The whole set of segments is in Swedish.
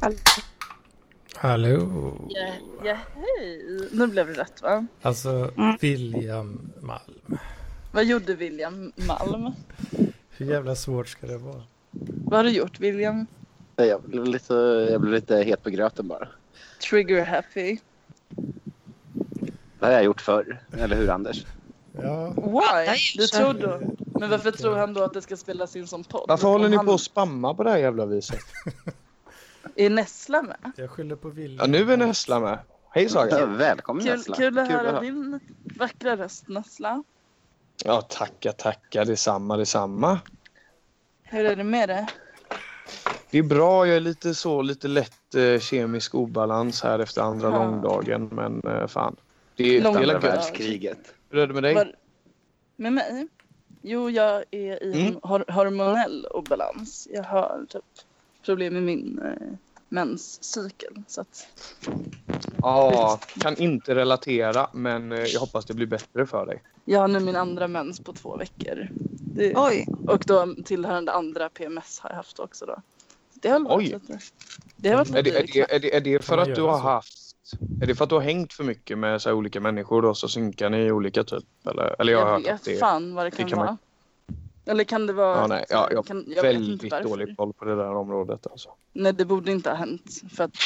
Hallå. Hallå. Ja, hej. Nu blev det rätt va? Alltså, William Malm. Vad gjorde William Malm? Hur jävla svårt ska det vara? Vad har du gjort William? Nej, Jag blev lite, jag blev lite het på gröten bara. Trigger happy. Det har jag gjort förr. Eller hur Anders? Ja, Why? är Du så- tror då? Men varför tror han då att det ska spelas in som podd? Varför håller Om ni han på att spamma på det här jävla viset? Är Nessla med? jag skyller på William. Ja, nu är Nessla med. Hej Ja, Saga! välkommen Kul, Nessla. kul att höra din vackra röst Nessla. Ja, tacka, tacka. Detsamma, detsamma. Hur är det med dig? Det är bra. Jag är lite så, lite lätt eh, kemisk obalans här efter andra Ja. långdagen. Men eh, fan. Det är Lång- det Andra är gött. världskriget. Hur är det med dig? Var... Med mig? Jo, jag är i en Mm. hor- hormonell obalans. Jag har typ problem med min eh, menscykel. Så att, Ja, kan inte relatera, men eh, jag hoppas det blir bättre för dig. jag har nu min andra mens på två veckor. Det... Oj, Och då tillhörande andra PMS har jag haft också då. Så Det har varit Oj. lite... Det har varit Är det, lite är det, är det, är det för man att du göra har så? haft... Är det för att du har hängt för mycket med så här, olika människor då, så synkar ni olika typ? Eller, eller jag har Jag hört att vet det är... fan vad det kan, kan man- vara. Eller kan det vara... Ja, nej, ja, jag kan, har jag vet inte väldigt varför. dålig koll på det där området alltså. Nej, det borde inte ha hänt. För att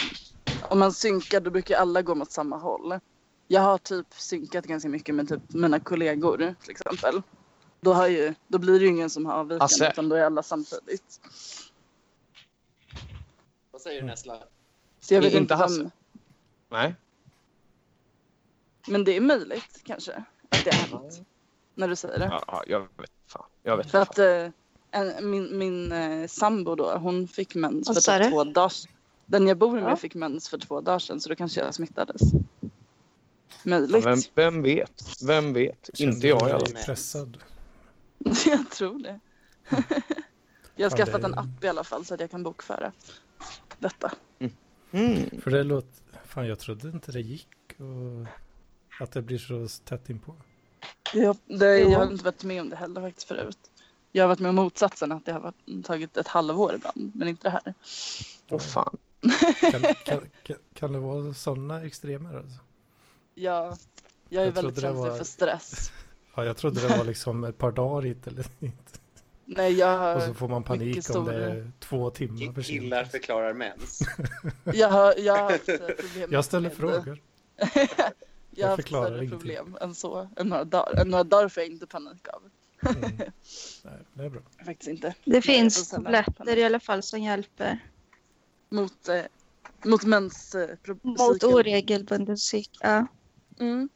om man synkar då brukar alla gå mot samma håll. Jag har typ synkat ganska mycket med typ mina kollegor till exempel. Då, har ju, då blir det ju ingen som har avvikande Hasse. utan då är alla samtidigt. Vad säger du Nessla? Så jag vet Mm. Inte inte om, Hasse. Nej. Men det är möjligt kanske att det har Mm. hänt. När du säger det. Ja, ja, jag vet fan. Jag vet För fan. att eh, en, min, min eh, sambo då, hon fick mens Vad för sa typ du? två dagar sedan. Den jag bor med Ja. fick mens för två dagar sedan så då kanske jag smittades. Ja, Möjligt. Vem, vem vet? Vem vet? Inte jag i alla fall. är pressad. jag tror det. jag har Ja, skaffat det- en app i alla fall så att jag kan bokföra detta. Mm. För det låter... Fan, jag trodde inte det gick och att det blir så tätt inpå. Jag, det, jag har Jo. inte varit med om det heller faktiskt förut. Jag har varit med om motsatsen att det har varit, tagit ett halvår ibland men inte det här. Åh fan. Kan, kan, kan, kan det vara sådana extremer? Alltså? Jag, jag är Jag väldigt trodde det känslig var- för stress. Ja, jag trodde det var liksom ett par dagar hit eller inte. Nej, jag har... Och så får man panik mycket om det stor- är två timmar för sent. förklarar mens. Jag har, jag har haft eh, problem. Jag ställer med- frågor. Jag har haft förklarar större ingenting. problem än så. Än några dagar. Än några dagar får jag inte panik av. Mm. Nej, det är bra. Faktiskt inte. det finns och sen- tabletter i alla fall som hjälper. Mot, eh, mot mens... Eh, pro- Mot psyken. oregelbunden cykel. Ja. Mm.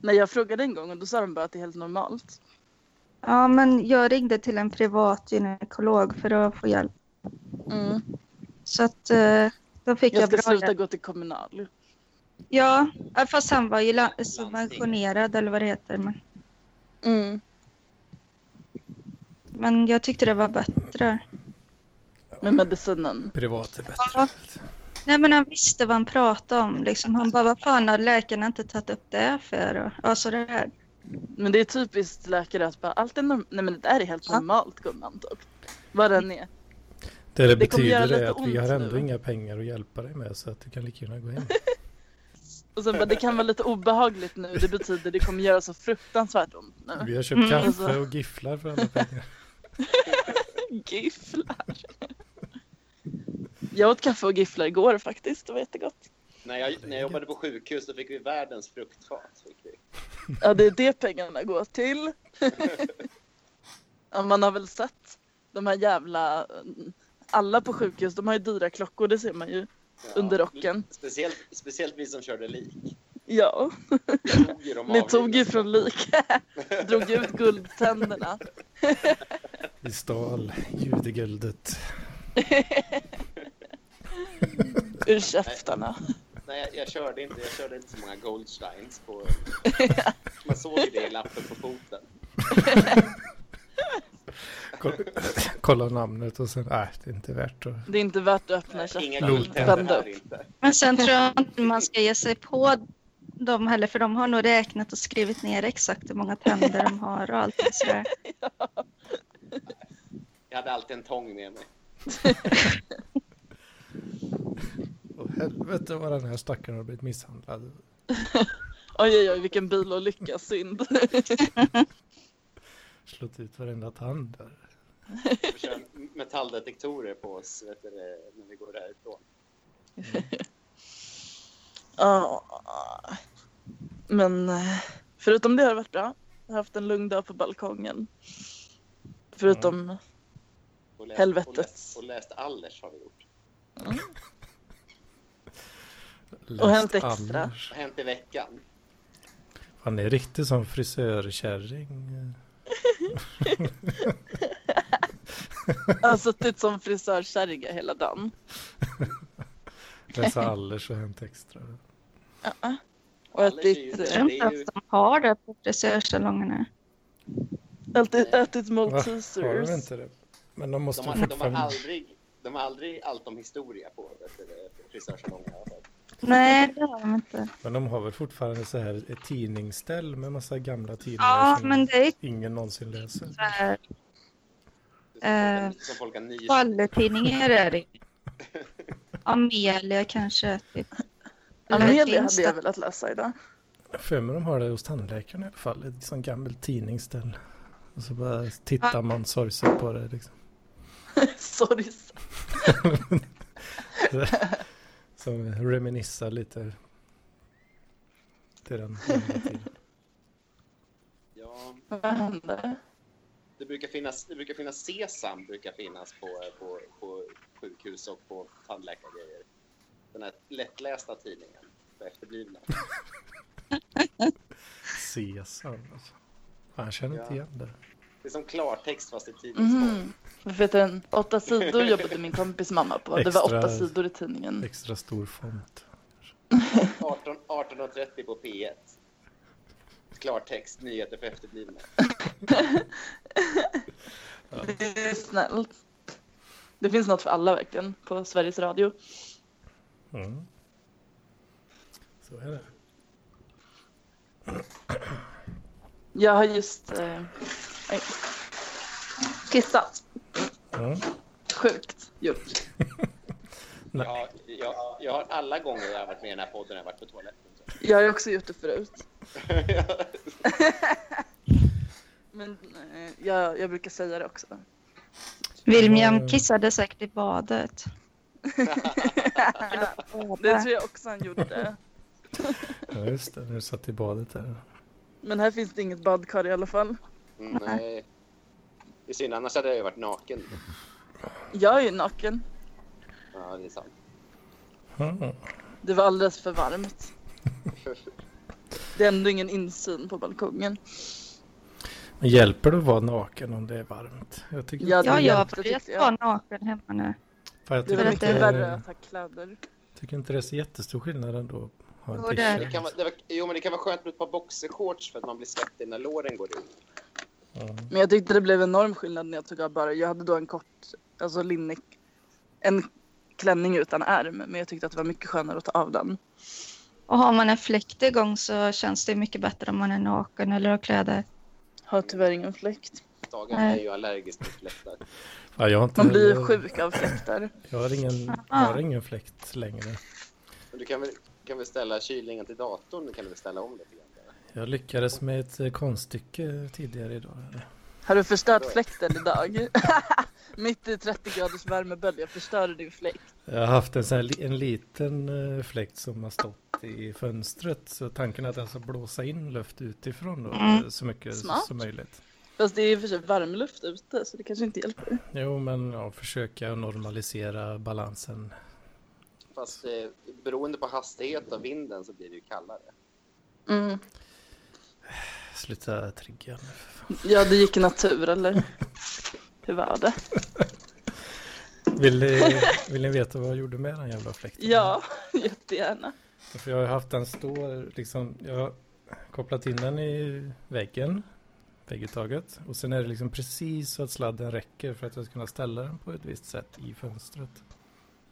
Nej, jag frågade en gång och då sa de bara att det är helt normalt. ja, men jag ringde till en privat gynekolog för att få hjälp. Mm. Så att eh, då fick jag, Jag ska bra sluta hjälp. gå till kommunal. Ja, ja, fast han var ju la- subventionerad eller vad det heter. Men, Mm. men jag tyckte det var bättre. Med medicinen. Privat är Ja. bättre. Nej men han visste vad han pratade om. Liksom. Han bara, vad fan har läkarna inte tagit upp det för? Och, ja, så det här. Men det är typiskt läkare att bara allt är norm- Nej men det där är helt Ja. normalt gumman typ. Vad den är. Det, det Det kommer göra betyder lite är att vi ont har ändå nu. inga pengar att hjälpa dig med så att du kan lika gärna gå hem. Och sen bara det kan vara lite obehagligt nu. Det betyder det kommer göra så fruktansvärt ont nu. Vi har köpt Mm. kaffe och gifflar för alla pengar. Gifflar. Jag åt kaffe och gifflar igår faktiskt. Det var jättegott. När jag, när jag jobbade på sjukhus då fick vi världens fruktfat. Fick vi. Ja det är det pengarna går till. Ja, man har väl sett de här jävla. Alla på sjukhus de har ju dyra klockor det ser man ju. Ja. Under rocken. Speciellt, speciellt vi som körde lik. Ja. Jag tog ju de Ni tog ju avlidna. från lika. Drog ut guldtänderna. Vi stal judeguldet. Ur käftarna. Nej, jag, jag, körde inte, jag körde inte så många Goldsteins. På, man såg ju det i lappen på foten. Ko- Kolla namnet och sen, nej det är inte värt att... Det är inte värt att öppna Inga käftarna. guldtänder Vända upp. här inte. Men sen tror jag inte man ska ge sig på dem heller, för de har nog räknat och skrivit ner exakt hur många tänder de har och allt sådär. Jag hade alltid en tång med mig. Åh helvete vad den här stackaren har blivit misshandlad. Oj, oj, oj, vilken bilolycka. Synd. Slått ut varenda tand där. Vi kör metalldetektorer på oss vet du, det, när vi går därifrån. Ja. Men eh, förutom det har det varit bra. Jag har haft en lugn dag på balkongen. Mm. Förutom, Och läst, Helvetet. Och läst, och läst Allers har vi gjort. Läst Och hänt extra. Anders. Vad har hänt i veckan? Han är riktigt som frisörkärring. jag har suttit som frisörkärringa hela dagen. Läsa Allers och hänt extra. Och Allers är ju ätit, eh, det. Jag tror inte ju- att de har det på frisörsalongerna. ätit, ätit Va? Har Maltesers. de inte det? Men de måste De har, de har fortfarande... aldrig... De har aldrig allt om historia på vet du, det, på frisörsalongen. alltså. Nej, det har de inte. Men de har väl fortfarande så här ett tidningsställ med massa gamla tidningar Ja, som men det är ju ingen någonsin läser. så här. Som Eh. folk- Som folk har nys Skvallertidningar är det. Amelia kanske. Typ. Amelia hade jag velat läsa idag. För mig de har det hos tandläkaren i alla fall, ett sånt gammalt tidningsställ. Och så bara tittar man sorgset på det liksom. Sorry. Som reminissar lite. Till den gamla tiden. Ja, Vad hände? det brukar finnas, det brukar finnas sesam brukar finnas på, på, på sjukhus och på tandläkargrejer. Den här lättlästa tidningen för efterblivna. Sesam alltså. Han känner inte Ja. igen det. Det är som klartext fast i tidningsform. Mhm. Vet du, en- åtta sidor jobbade min kompis mamma på. Det var Extra- åtta sidor i tidningen. Extra stor font. 18, 18.30 på P1. Klartext, nyheter för efterblivna. Det är snällt. Det finns något för alla verkligen på Sveriges Radio. Mm. Så är det. Jag har just eh, oj. kissat. Mm. Sjukt gjort. Nej. Jag, jag, jag har alla gånger jag har varit med i den här podden jag har varit på toaletten. Så. Jag har ju också gjort det förut. Men eh, jag, jag brukar säga det också. William kissade säkert i badet. Det tror jag också han gjorde. Ja just det, nu satt i badet där. Men här finns det inget badkar i alla fall. Mm, Nej. Det är synd, annars hade jag ju varit naken. Jag är ju naken. Ja, det är sant. Mm. Det var alldeles för varmt. Det är ändå ingen insyn på balkongen. Men Hjälper det att vara naken om det är varmt? Jag tycker Ja, Ja, jag har hjälpte, börjat tyckte jag. vara naken hemma nu. Fan, jag Det tycker var inte- mycket värre att ha kläder. Tycker inte det är så jättestor skillnad ändå. att Ha en Jo, det är t-shirt. Det kan vara, det var, jo, men det kan vara skönt med ett par boxershorts för att man blir svettig när låren går ut. Ja. Men jag tyckte det blev enorm skillnad när jag tog av bara. Jag hade då en kort, alltså linne, en klänning utan ärm. Men jag tyckte att det var mycket skönare att ta av den. Och har man en fläkt igång så känns det mycket bättre om man är naken eller har kläder. Har tyvärr ingen fläkt. Dagen är ju allergisk mot fläktar. Ja, jag, har inte, Man blir ju sjuk av fläktar. jag har ingen, jag har ingen fläkt längre. Men du kan väl, kan väl ställa kylningen till datorn? Du kan väl ställa om lite grann? där. Jag lyckades med ett eh, konststycke tidigare idag. Har du förstört fläkten idag? Mitt i 30 graders värmebölja förstörde din fläkt. Jag har haft en, sån här, li- en liten eh, fläkt som har stått i fönstret. Så tanken är att den ska blåsa in luft utifrån då, eh, så mycket Mm. Smart. som möjligt. Fast det är i och för sig varmluft ute så det kanske inte hjälper. Jo, men ja, försöka normalisera balansen. Fast eh, beroende på hastighet av vinden så blir det ju kallare. Mm. Sluta trigga nu. för fan. Ja, det gick i natur eller? Hur var det? Vill ni, vill ni veta vad jag gjorde med den jävla fläkten? Ja, jättegärna. För jag har haft den stå, liksom, jag har kopplat in den i väggen, vägguttaget. Och sen är det liksom precis så att sladden räcker för att jag ska kunna ställa den på ett visst sätt i fönstret.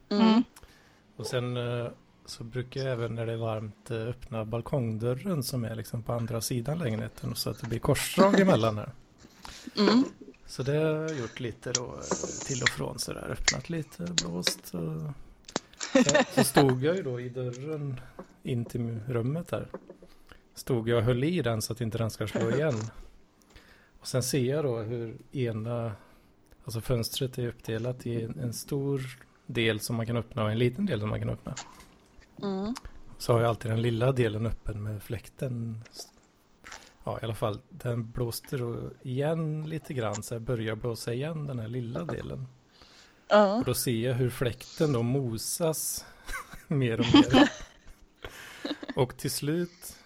Mm. Och sen eh, så brukar jag även när det är varmt eh, öppna balkongdörren som är liksom på andra sidan lägenheten så att det blir korsdrag emellan här. Mm. Så det har jag gjort lite då eh, till och från sådär, öppnat lite, blåst och Så- Så stod jag ju då i dörren in till rummet här. Stod jag och höll i den så att inte den ska slå igen. Och sen ser jag då hur ena, alltså fönstret är uppdelat i en en stor del som man kan öppna och en liten del som man kan öppna. Mm. Så har jag alltid den lilla delen öppen med fläkten. Ja, i alla fall. Den blåste då igen lite grann, så här börjar blåsa igen den här lilla delen. Ja. Och då ser jag hur fläkten då mosas mer och mer. och till slut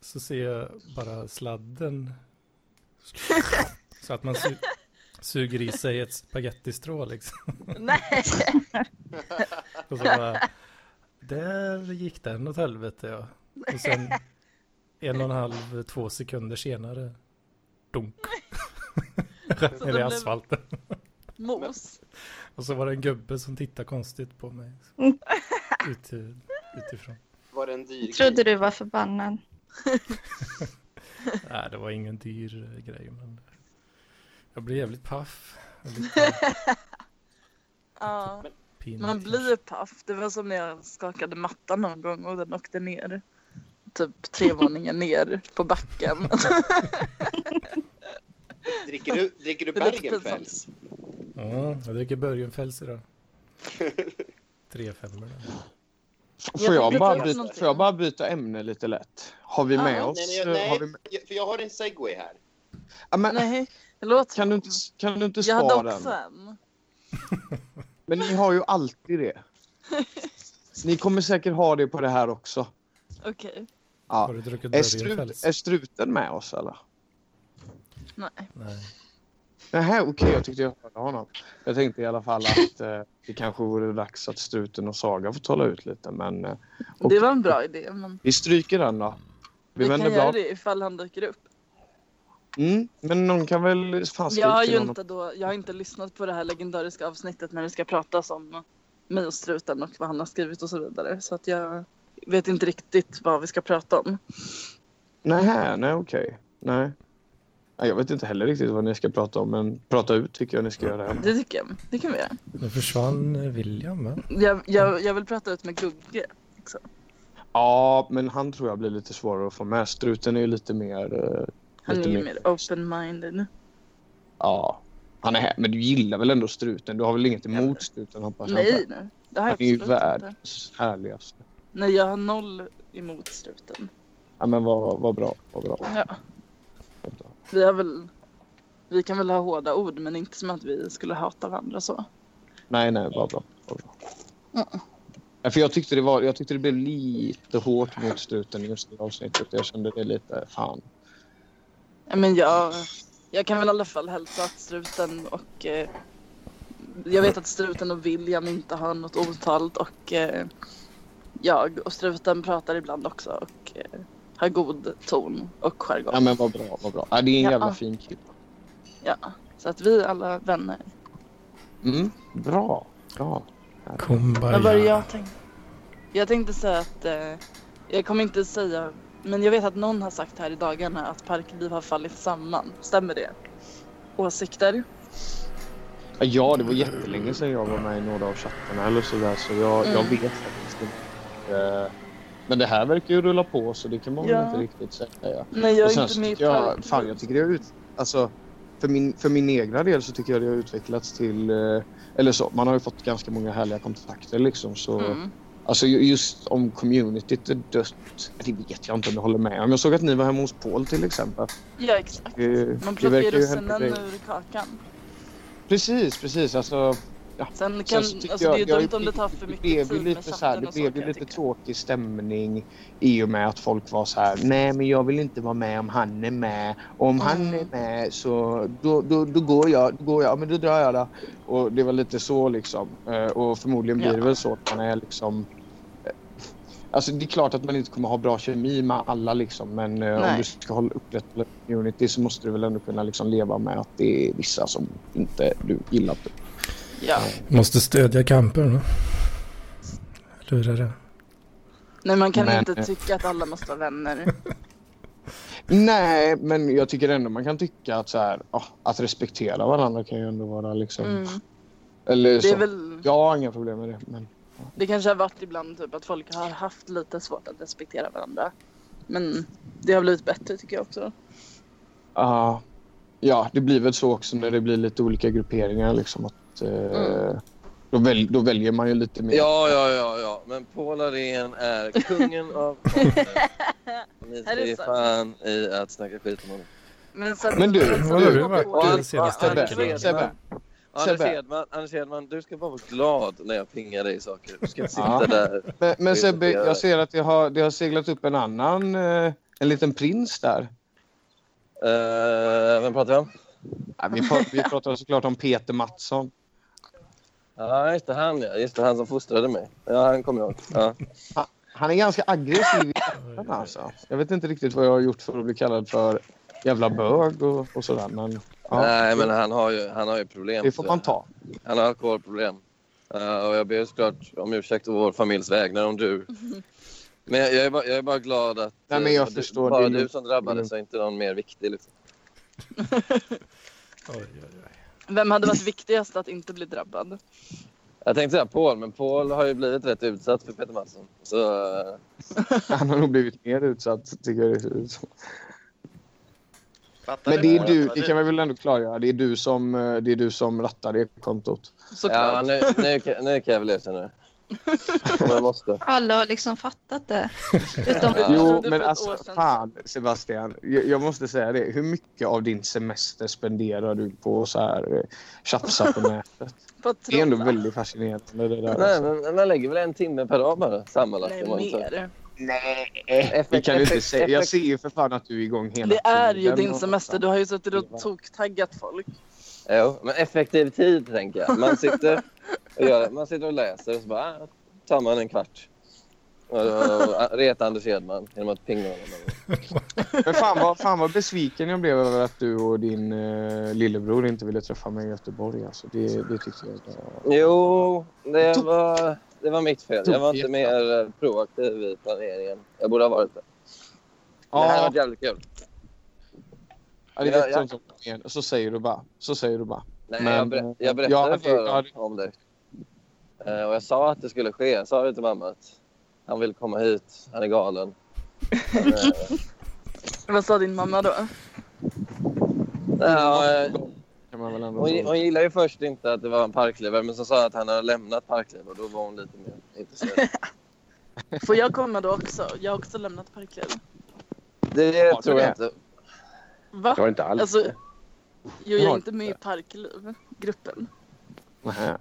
så ser jag bara sladden. Så att man su- suger i sig ett spagettistrå liksom. Nej. Och så bara, där gick den åt helvete ja. Och sen en och en halv, två sekunder senare, dunk. Så Ner i blev- asfalten. Mos. Och så var det en gubbe som tittade konstigt på mig. Ut, utifrån. Var det en Mm. dyr Trodde du var förbannad. Nej, det var ingen dyr eh, grej. Men jag blev jävligt paff. och Lite Ja. pinigt. Men man blir paff. Det var som när jag skakade mattan någon gång och den åkte ner. Typ tre våningar ner på backen. Dricker du, dricker du Det luktar Bergenfels? Mm, jag dricker Börjenfels idag. Tre femmor. Får jag, brukar bara göra byta, någonting. får jag bara byta ämne lite lätt? Har vi med Nej, oss? nej, eh, nej, Har vi med... jag- för jag har en segway här. Ah, men, Nej, låt. kan, du inte, kan du inte jag hade spara också den? en. Men ni har ju alltid det. Ni kommer säkert ha det på det här också. Okej. Ja. Har du druckit Är, strut, Börjenfels? är struten med oss eller? Nej. Nej. Nähä, okej, jag tyckte jag hörde honom. Jag tänkte i alla fall att eh, det kanske vore dags att struten och Saga får tala ut lite, men eh, Det var en bra idé. Men vi stryker den då. Vi, vi kan vänder göra blad. det ifall han dyker upp. Mm, men någon kan väl fan Jag skriva har ju till honom. inte, då, jag har inte lyssnat på det här legendariska avsnittet när det ska pratas om mig och struten och vad han har skrivit och så vidare. Så att jag vet inte riktigt vad vi ska prata om. Nähä, nej okej. Nej. Nej, Jag vet inte heller riktigt vad ni ska prata om, men prata ut tycker jag ni ska göra. Det tycker jag. Det kan vi göra. Nu försvann eh, William va? Jag, jag, jag vill prata ut med Gugge. Ja, men han tror jag blir lite svårare att få med. Struten är ju lite mer... eh, Han är lite ju mer open-minded. Ja. Han är här, men du gillar väl ändå struten? Du har väl inget emot struten hoppas jag? Nej, nej. Det har Han jag är ju absolut inte. världens härligaste. Nej, jag har noll emot struten. Ja, men vad, vad bra. Vad bra. Ja. Vi har väl... Vi kan väl ha hårda ord, men inte som att vi skulle hata varandra så. Nej, nej, vad bra. Vad bra. Ja, för jag, tyckte det var, jag tyckte det blev lite hårt mot struten i just det avsnittet. Jag kände det lite, fan. Ja, Men jag, jag kan väl i alla fall hälsa att struten och... Eh, jag vet att struten och William inte har något otalt och eh, jag och struten pratar ibland också och eh, har god ton och jargong. Ja, men vad bra. Vad bra. Ja, det är en Ja. ah. jävla fin kille. Ja, så att vi är alla vänner. Mm, bra. Bra. Men vad är det Kumbaya. jag tänkte? Jag tänkte säga att eh, jag kommer inte säga, men jag vet att någon har sagt här i dagarna att Parkliv har fallit samman. Stämmer det? Åsikter? Ja, Ja, det var jättelänge sedan jag var med i några av chattarna eller sådär, så jag, jag Mm. vet faktiskt inte. Eh, Men det här verkar ju rulla på, så det kan man Ja. väl inte riktigt säga. Nej, jag Och är sen inte så med i tycker jag, Parkliv. fan, jag tycker det har ut... Alltså, för min, för min egna del så tycker jag det har utvecklats till... eh, Eller så, man har ju fått ganska många härliga kontakter liksom. Så, Mm. Alltså ju- just om communityt är dött, det vet jag inte om jag håller med om. Jag såg att ni var hemma hos Paul till exempel. Ja, exakt. Det- Man det plockar ju verkar ju hemskt russinen grej. ur kakan. Precis, precis. Alltså, Sen kan, Sen så tycker alltså det är ju jag- jag- dumt om det tar för mycket blev ju tid lite med så här, chatten Det och så kan blev ju jag lite tycka. tråkig stämning i och med att folk var så här. Nej, men jag vill inte vara med om han är med. Och om han är Mm. med så då, då, då går jag. Då går jag. Men då drar jag då. Och det var lite så liksom. Eh, Och förmodligen blir Ja. det väl så att man är liksom. eh, Alltså det är klart att man inte kommer ha bra kemi med alla liksom. Men eh, om Nej. du ska hålla upprätthålla community så måste du väl ändå kunna liksom leva med att det är vissa som inte du gillar. Typ. Ja. Måste stödja kampen va? Lurar det. Nej, man kan Men- eh, inte tycka att alla måste vara vänner. Nej, men jag tycker ändå man kan tycka att så här, ja, att respektera varandra kan ju ändå vara liksom... Mm. Eller Det så. är väl... Jag har inga problem med det. Men... Det kanske har varit ibland typ att folk har haft lite svårt att respektera varandra. Men det har blivit bättre tycker jag också. Ja. ja, det blir väl så också när det blir lite olika grupperingar. Liksom, att, eh, Mm. då, väl, då väljer man ju lite mer. Ja, ja, ja, ja. Men Paul Arén är kungen av podden. Ni Är det ser så? fan i att snacka skit om honom. Men, sen, Men du, sen- Vad har du varit Och i han- senaste han- veckan? han- Sebbe, Anders Sebbe. Hedman, Anders Hedman, du ska bara vara glad när jag pingar dig saker. Du ska inte sitta Ja. där. men, men Sebbe, Jag- jag ser att det har, det har seglat upp en annan, eh, en liten prins där. Eh, vem pratar vi om? Ja, vi, pratar, vi pratar såklart om Peter Mattsson. Ja, just det. Han, ja. Just det, han som fostrade mig. Ja, han kommer jag ihåg. Ja. Han är ganska aggressiv i chatten alltså. Jag vet inte riktigt vad jag har gjort för att bli kallad för jävla bög och, och sådär. Men, ja, Nej, men han har ju, han har ju problem. det får man ta. Han har alkoholproblem. Eh, och jag ber såklart om ursäkt å vår familjs vägnar om du... Men jag, jag, är, bara, jag är bara glad att Nej, men jag eh, du, förstår. bara Det Mm. är- du som drabbades och inte någon mer viktig. Liksom. Oj, oj, oj. Vem hade varit viktigast att inte bli drabbad? Jag tänkte säga Paul, men Paul har ju blivit rätt utsatt för Peter Mattsson. Så eh, Han har nog blivit mer utsatt tycker jag. det ser ut som. Fattar Men det är vad du, jag det sa? kan vi väl ändå klargöra. Det är du som, eh, det är du som rattar det kontot. ja, Såklart. nu, nu, kan- nu kan jag väl erkänna det. Om jag måste. Alla har liksom fattat det. Utom Ja. Jo, det men är för ett alltså år sedan. fan Sebastian. Jag, jag måste säga det. Hur mycket av din semester spenderar du på så här eh, tjafsa på nätet? På Det är ändå Trosa. väldigt fascinerande det där. Nej, alltså. men man lägger väl en timme per dag bara sammanlagt. Nej, om man inte- mer. Det Eh, kan du inte Effekt- säga. Jag effekt- ser ju för fan att du är igång hela Det är ju tiden din och- semester. Du har ju suttit och toktaggat folk. Jo, men effektiv tid tänker jag. Man sitter och, gör, man sitter och läser och så bara ah, tar man en kvart. Och, och, och reta Anders Hedman genom att pinga honom. Men fan vad, fan vad besviken jag blev över att du och din eh, lillebror inte ville träffa mig i Göteborg. Alltså, det, det tyckte jag var... Jo, det var, det var mitt fel. Jag var inte mer eh, proaktiv i planeringen. Jag borde ha varit det. Det här har Ja, varit jävligt kul. ja, det är Ja, rätt ja. sånt som kom igen. Så säger du bara. Så säger du bara. Nej, Men, jag, ber- jag ja, berättade men det- för ja, honom om dig. Eh, och jag sa att det skulle ske. Jag sa det till mamma att han vill komma hit. Han är galen. Eh, Vad sa din mamma då? ja, eh, Kan man väl ändå Hon, hon gillade ju först inte att det var en parklivare men så sa hon att han hade lämnat parkliv och då var hon lite mer intresserad. Får jag komma då också? Jag har också lämnat parkliv. Det Har du tror jag det? inte. Va? Det har inte alls. Alltså, jo, jag Har är inte med i parklivgruppen. Nähä.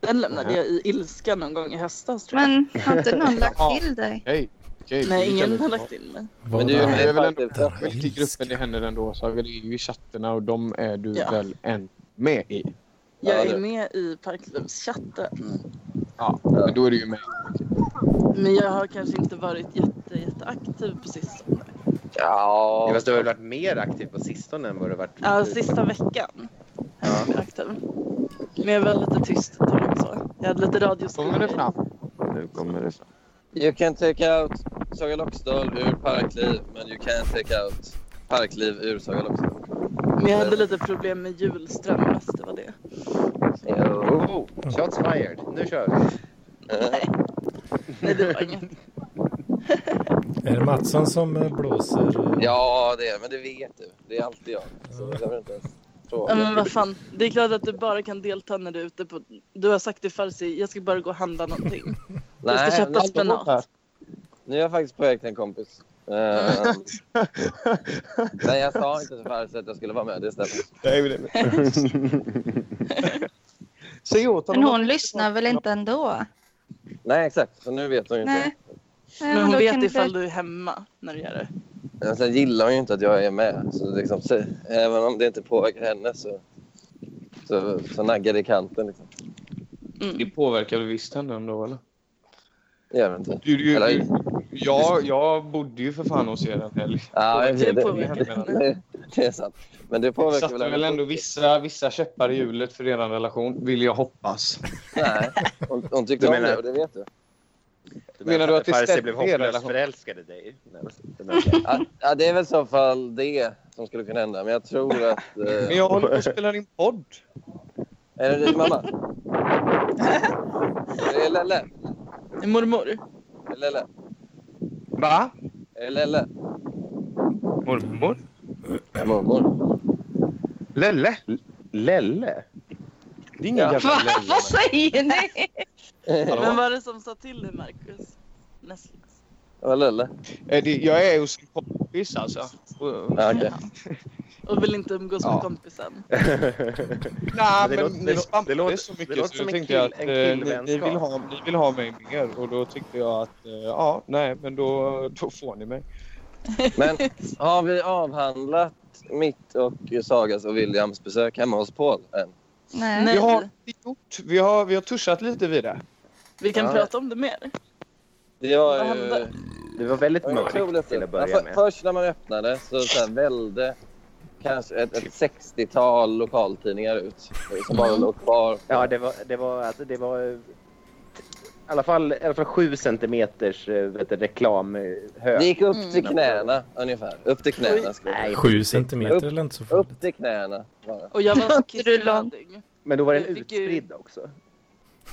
Den lämnade jag i ilska någon gång i höstas tror jag. Men har inte någon lagt till dig? Okej. Okej. Nej, det kan ingen vi har ta. lagt in mig. Men Vad du är det är med väl i ändå- parkliv. Men till gruppen det händer ändå Saga. Det är ju i chatterna och de är du Ja. väl en med i. Jag Ja, är det- med i parklivschatten. Ja, men då är du ju med. Men jag har kanske inte varit jätte, jätteaktiv på sistone. Ja, Fast du har väl varit mer aktiv på sistone än vad du har varit Ja, sista veckan har jag varit aktiv. Men jag var lite tyst ett tag också. Jag hade lite Kommer det radioskugga. fram? Nu kommer det fram. you can take out Saga Loxdal ur parkliv men you can take out parkliv ur Saga Loxdal. Men jag hade lite problem med julström mest, det var det. Oh, shots fired. Nu kör vi. Eh, Nej, det var inget. Är det Mattsson som eh, blåser? Ja, det är men det vet du. Det är alltid jag. Så det behöver inte ens Ja, men fråga. vad fan. Det är klart att du bara kan delta när du är ute på... Du har sagt till Farsi, jag ska bara gå och handla någonting. Jag ska Nej, köpa spenat. nu är jag faktiskt på väg till en kompis. Eh, nej, jag sa inte så farligt att jag skulle vara med. Det stämmer. Säg åt Men honom. hon lyssnar väl inte ändå? Nej, exakt. Så nu vet hon ju inte. Nej. Nej, Men hon då vet kan du- ifall du är hemma när du gör det. Men sen gillar hon ju inte att jag är med. Så liksom, så, även om det inte påverkar henne så, så, så naggar det i kanten. Liksom. Det Mm. påverkar väl visst henne ändå eller? Det gör det inte. Du, du, Eller- du, jag, jag bodde ju för fan hos er en helg. Ja, Det det, Ah, det, påverkar det, det, det är sant. Men det påverkar Satte väl henne. ändå vissa, vissa käppar i hjulet för er relation, vill jag hoppas. Nej, hon, hon tyckte Du om menar- det och det vet du. Menar du att det Farsi stämde blev i er hopplöst relation? förälskad i dig? Nej, det menar jag. Ja, ja, Ah, det är väl i så fall det som skulle kunna hända. Men jag tror att... Men Eh, jag håller på att spela in podd. är det din mamma? Det är Lelle. Mormor? Lelle. Va? Lelle. Mormor? Mormor. Lelle? Lelle? Det är ingen Ja. jävla Va? Lelle. Vad säger ni? Vem var det som sa till dig, Marcus? Nestlas. Ja, Lelle. Eh, det- Jag är hos en kompis alltså. Och- Ja, okej. Och vill inte umgås Ja. med kompisen. Nej, Det men, låter- det ni låter- spammade det låter- så det mycket låter så som då en tänkte kill- jag att en eh, ni, ni, killvänskap. vill ha, ni vill ha mig mer och då tänkte jag att eh, ja, nej, men då, då får ni mig. Men har vi avhandlat mitt och Sagas och Williams besök hemma hos Paul än? Nej. Nej. Vi har, inte gjort, vi, har, vi har tuschat lite vid det. Vi kan Ja. prata om det mer. Det var Vad ju... hände? Det var väldigt det var otroligt mörkt till att fint. Ja, Alltså, börja för- med. Först när man öppnade så, så här välde kanske ett, ett 60-tal lokaltidningar ut som bara låg kvar. Ja, det var... Det var, alltså, det var eh, i alla fall, i alla fall sju centimeters eh, vet du, reklamhög. Det gick upp till Mm. knäna ungefär. Upp till knäna skulle jag Nej, säga. Sju centimeter eller inte så farligt. Upp till knäna bara. Och jag var Inte du lång? kissnödig. men då var den jag fick ju- utspridd också.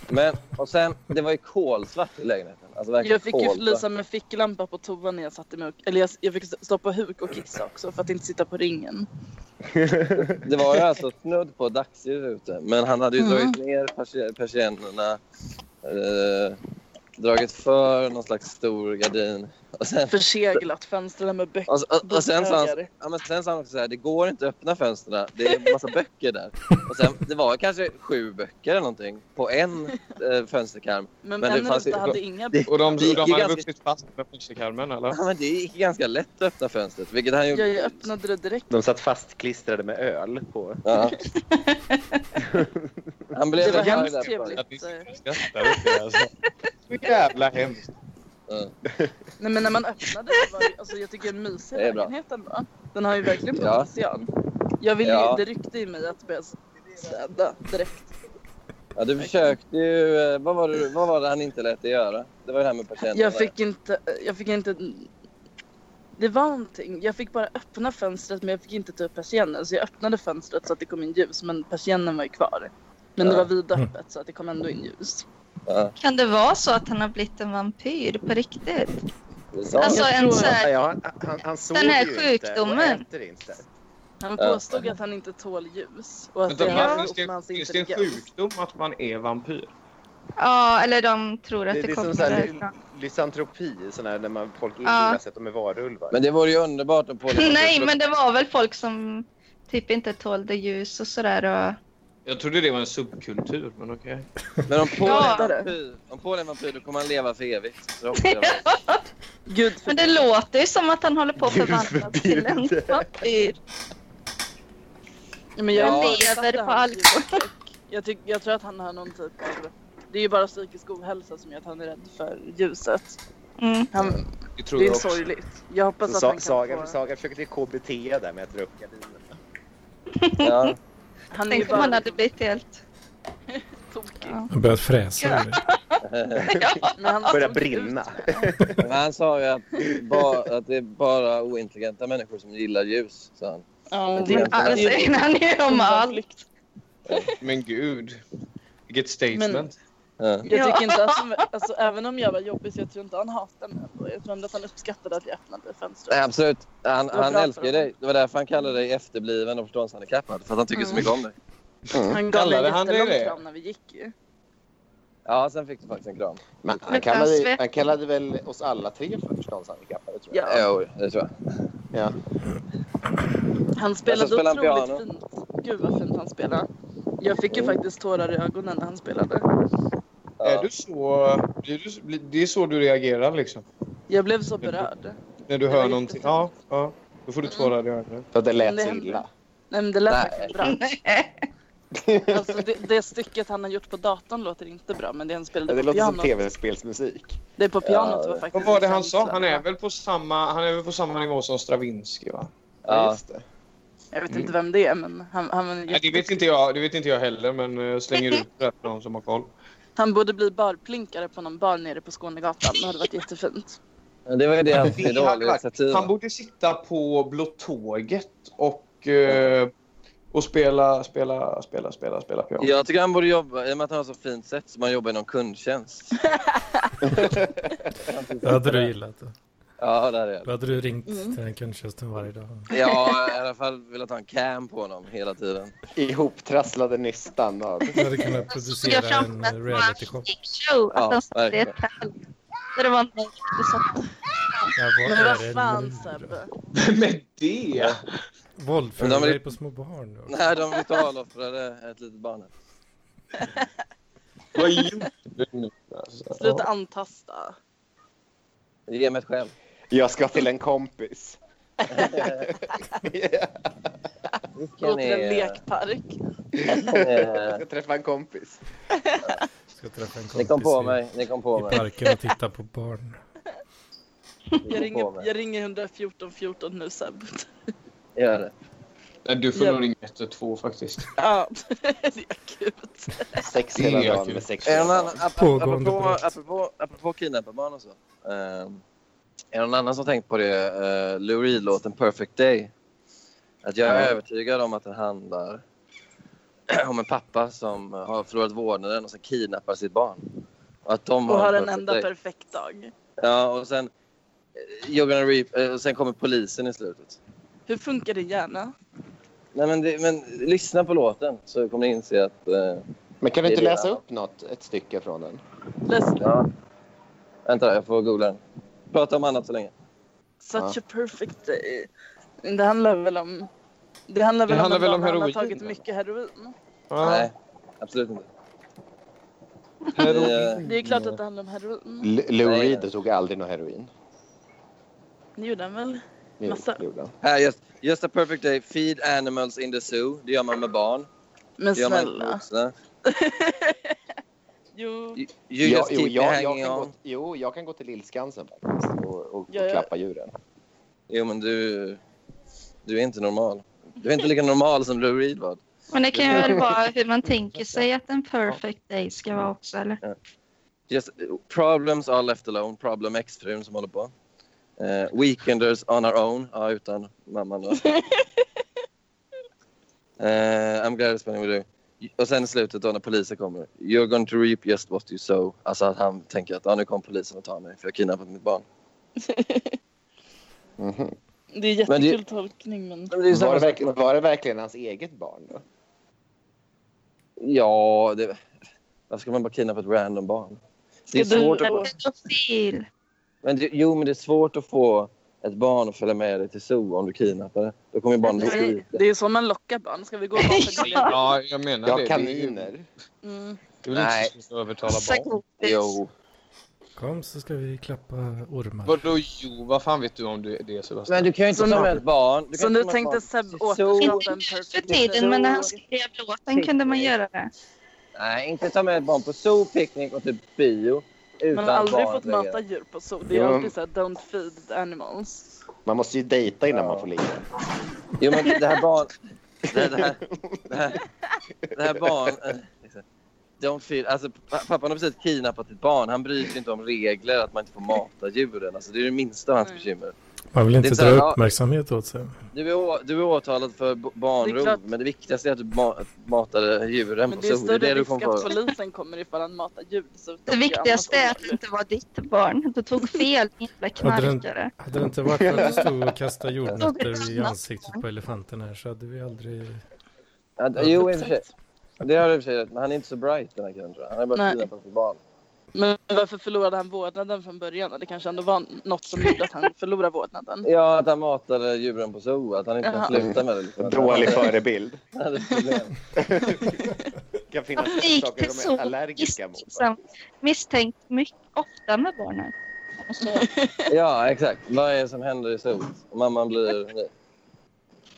Men, och sen, det var ju kolsvart i lägenheten. Alltså verkligen Jag fick ju kolsvart. lysa med ficklampa på toan när jag satte mig och, Eller jag, jag fick st- stå på huk och kissa också för att inte sitta på ringen. Det var ju alltså snudd på dagsljus ute. Men han hade ju Mm. dragit ner persi- persiennerna. Eh, dragit för någon slags stor gardin. Och sen, Förseglat fönstren med böcker. och, och, och sen, sa han, Bokbögar. ja, men sen sa han också så här, det går inte att öppna fönstren. Det är en massa böcker där. Och sen, det var kanske sju böcker eller någonting på en eh, fönsterkarm. Men, men det en fanns ju- ruta hade inga det- Och de, Det gick de ju hade ganska- vuxit fast med fönsterkarmen eller? Ja, men det gick ganska lätt att öppna fönstret, vilket han gjorde. Jag öppnade det direkt. De satt fastklistrade med öl på. Ja. Han blev Det var arg hemskt där på trevligt. början. Att ni skrattar åt det alltså. Så jävla hemskt. Nej men när man öppnade så var det, alltså jag tycker en mysig Det är bra. lägenhet ändå. Den har ju verkligen Ja. potential. Jag ville Ja. ju, det ryckte i mig att börja städa direkt. Ja, du försökte ju... eh, Vad var, det, vad var det han inte lät dig göra? Det var det här med patienterna. Jag fick inte, jag fick inte det var någonting. Jag fick bara öppna fönstret men jag fick inte ta upp persiennen. Så jag öppnade fönstret så att det kom in ljus men persiennen var ju kvar. Men det Ja. var Mm. vidöppet så att det kom ändå in ljus. Ja, Kan det vara så att han har blivit en vampyr på riktigt? det sa Alltså han. jag en tror- så här, Ja, han, han, han sover Den här ju sjukdomen. inte och äter inte. Han Ja. påstod att han inte tål ljus. Och att Vänta, det men hade finns ihop med det, hans finns det en intelligens. sjukdom att man är vampyr? ja, eller de tror att Det, det, liksom det är kommer som så här, ly- därifrån. lysantropi, sån här, när man, folk Ja. inbillar sig att de är varulvar. Men det vore ju underbart att på Nej, men det var väl folk som typ inte tålde ljus och sådär. Och... Jag trodde det var en subkultur, men okej. Men om Paul Ja. är en vampyr, om Paul är en vampyr då kommer han leva för evigt. förhoppningsvis. Gud för Men det låter ju som att han håller på att Gud förvandlas till en förbjude. vampyr. Ja, men jag Ja. ifrågasatte Lever på hans alkohol. ljusskräck. Jag, tyck, jag tror att han har någon typ av... Det är ju bara psykisk ohälsa som gör att han är rädd för ljuset. Mm. Det Han, det tror är jag också. sorgligt. Jag hoppas Så att sa, han kan Saga, få... Saga försöker till KBT där med att dra upp gardinen. Ja. Han är ju Tänk om han bara hade blivit helt... tokig. Ja. Jag börjat fräsa. ur det. Men han Börjar såg ut- brinna. Men han sa ju att, ba, att det är bara ointelligenta människor som gillar ljus. Sa han. Ja, Men men- Ja, det säger han ju om allt. Men gud. Vilket statement. Men- Ja. Jag tycker inte att han, alltså, även om jag var jobbig så jag tror inte han hatade mig ändå. Jag tror ändå att han uppskattade att jag öppnade fönstret. Nej, absolut. Han, Vad han bra älskar ju för dig. Det var därför han kallade dig efterbliven och förståndshandikappad. För att han tycker så Mm. mycket om dig. Han gav mig Kallade han en dig jättelång det? kram när vi gick ju. Ja, sen fick du faktiskt en kram. Men Men han kallade, Svep- han kallade väl oss alla tre för förståndshandikappade tror jag. Ja, Jo, det tror jag. Ja. han Jag spelade som spelar otroligt fint. Gud vad fint han spelade. Jag fick ju Mm. faktiskt tårar i ögonen när han spelade. Ja. Är du så... Blir du, blir- det är så du reagerar liksom? Jag blev så berörd. När du Det Mm. var hör någonting? Ja, jättefint. ja. Då får du tårar i ögonen. För att det Men lät det så hände. illa. Nej men det lät Nej. verkligen bra. Alltså det, det stycket han har gjort på datorn låter inte bra men det han spelade Ja, Det på låter som pianot. tv-spelsmusik. Det på pianot var Ja. faktiskt... Vad var det han känslan. sa? Han är väl på samma, han är väl på samma nivå som Stravinsky va? Ja, Ja. just det. Jag Mm. vet inte vem det är men han, han, var en Nej, det, vet jätteduktig- inte jag, det vet inte jag heller men jag slänger ut det här för någon som har koll. han borde bli barplinkare på någon bar nere på Skånegatan. Det hade varit jättefint. Men Det var ju det hans Det hade varit- idolinitiativ. Han borde sitta på Blåtåget och eh, Och spela, spela, spela, spela, spela piano. Jag tycker han borde jobba, i och med att han har så fint sätt, som han jobbar inom kundtjänst. Då hade du gillat det. Ja, där är jag. Då hade du ringt till den kundtjänsten varje dag. Ja, i alla fall velat ha en cam på honom hela tiden. Ihoptrasslade nystan av... Du hade kunnat Så såg jag producera framför en mig att eh, reality det var en show. show. Att Ja, de satt i verkligen. ett tält. Där det var någon som Ja, satt vad Men vad är det fan nu Sebbe? då? Med det? Men de Våldför vill- dig på små barn då? Nej, de ritualoffrade ett litet barn. Vad gjorde du nu? Alltså, Sluta antasta. Ge mig ett skäl. Jag ska till en kompis. Gå till en lekpark. eh, Jag träffar en kompis. Ska träffa en Ni kompis kom på i, mig, ni kom på i mig. parken och titta på barn. Ni Jag kom på ringer, mig. jag ringer 114 14 nu Seb. Gör det. Nej, du får Ja. nog ringa 112 faktiskt. Ja, det är akut. Sex Det är hela dagen kul. med sex. Är det hela någon dagen. annan, ap- ap- Pågående apropå, brott. apropå, apropå kidnapparbarn och så. ehm, är det någon annan som tänkt på det? Uh, Lou Reed-låten Perfect Day. Att jag är övertygad om att den handlar om en pappa som eh, har förlorat vårdnaden och sen kidnappar sitt barn. Och att de Och har en perfect enda day. perfekt dag. Ja, och sen... eh, You're gonna reap, eh, och sen kommer polisen i slutet. Hur funkar din hjärna? Nej, men, det, men lyssna på låten så kommer ni inse att... eh, Men kan du Det är inte det. läsa upp något, ett stycke från den? Läs ja. Vänta, jag får googla den. Prata om annat så länge. Such a perfect day. Det handlar väl om... Det handlar väl Det handlar om, väl en om dag när han har heroin, tagit eller? mycket heroin. Nej, absolut inte. Heroin. Det är klart att det handlar om heroin. L- Lou Nej. Reed tog aldrig någon heroin. Det gjorde han väl? Jo, Massa. det gjorde han. eh, Här, just, just a perfect day. Feed animals in the zoo. Det gör man med barn. Men Det gör man med snälla. vuxna. Jo, You, you Ja, just jo, keep jag, jag hanging kan on. gå, jo, jag kan gå till Lillskansen faktiskt och, och, Ja, och ja. klappa djuren. Jo, men du... Du är inte normal. Du är inte lika normal som Lou Reed var. Men det kan ju väl vara hur man tänker sig att en perfect day ska vara också, eller? Just, problems are left alone. Problem X-frun som håller på. Eh, weekenders on our own. Ja, utan mamman då. Eh, I'm glad it's spending with you. Och sen i slutet då när polisen kommer. You're going to reap just what you sow. Alltså att han tänker att ah, nu kom polisen och tar mig för jag har kidnappat mitt barn. det är Men det- jättekul tolkning men... Men det är ju samma Var det, sak- verkligen, var det verkligen hans eget barn? Då? Ja, det... Varför ska man bara kidnappa ett random barn? Det är Ska du- svårt att Ja. få... Pedofil. Men det, jo, men det är svårt att få ett barn att följa med dig till zoo om du kidnappar det. Då kommer ju barnet att Nej, skrika. Det är så man lockar barn. Ska vi gå och prata Ja. Gullian? Ja, jag menar Ja, det. kaniner. Mm. Det är väl Nej. inte så svårt att övertala barn? Psykopath. Jo. Kom så ska vi klappa ormar. Vadå jo? Vad fan vet du om det, det Sebastian? Men du kan ju Så inte ta nu- med ett barn. Du kan Så nu inte ta med ett tänkte barn Seb till zoo. återskapa en Inte nu för perfect tiden, men när han day. skrev låten kunde man göra det. Nej, inte ta med ett barn på zoo, picknick och typ bio. Utan Man har aldrig barn fått längre. mata djur på zoo. Det är Ja. alltid såhär don't feed the animals. Man måste ju dejta innan Ja. man får ligga. Jo, men det här barn... Det, det, här, det, här, det här barn... De fyr, alltså, pa- pappan har precis kidnappat ett barn. Han bryr sig inte om regler att man inte får mata djuren. Alltså, det är det minsta av hans Nej. bekymmer. Man vill Det inte är så här, dra ja. uppmärksamhet åt sig. Du är, å- du är åtalad för b- Det är barnrov, klart. men det viktigaste är att du ma- matade djuren Men på det är zoo. Det är större det du risk kommer att få. polisen kommer ifall han matar djur. Så Det viktigaste är att det inte var ditt barn. Du tog fel, din jävla Hade den- knarkare. Hade det inte varit för att du stod och kastade jordnötter i Något ansiktet på elefanten här så hade vi aldrig... Ja, d- Jo, i och för sig. Det har du i och för sig rätt, men han är inte så bright den här killen tror jag. Han har bara Nej. kidnappat ett barn. Men varför förlorade han vårdnaden från början? Det kanske ändå var något som gjorde att han förlorade vårdnaden. Ja, att han matade djuren på zoo. Att han inte kan Jaha. sluta med det. Liksom. Dålig förebild. Han hade problem. kan finnas Det gick saker till de är så allergiska mot. Misstänkt- Misstänkt mycket ofta med barnen. Alltså, Ja, exakt. Vad är det som händer i zoo? Mamman blir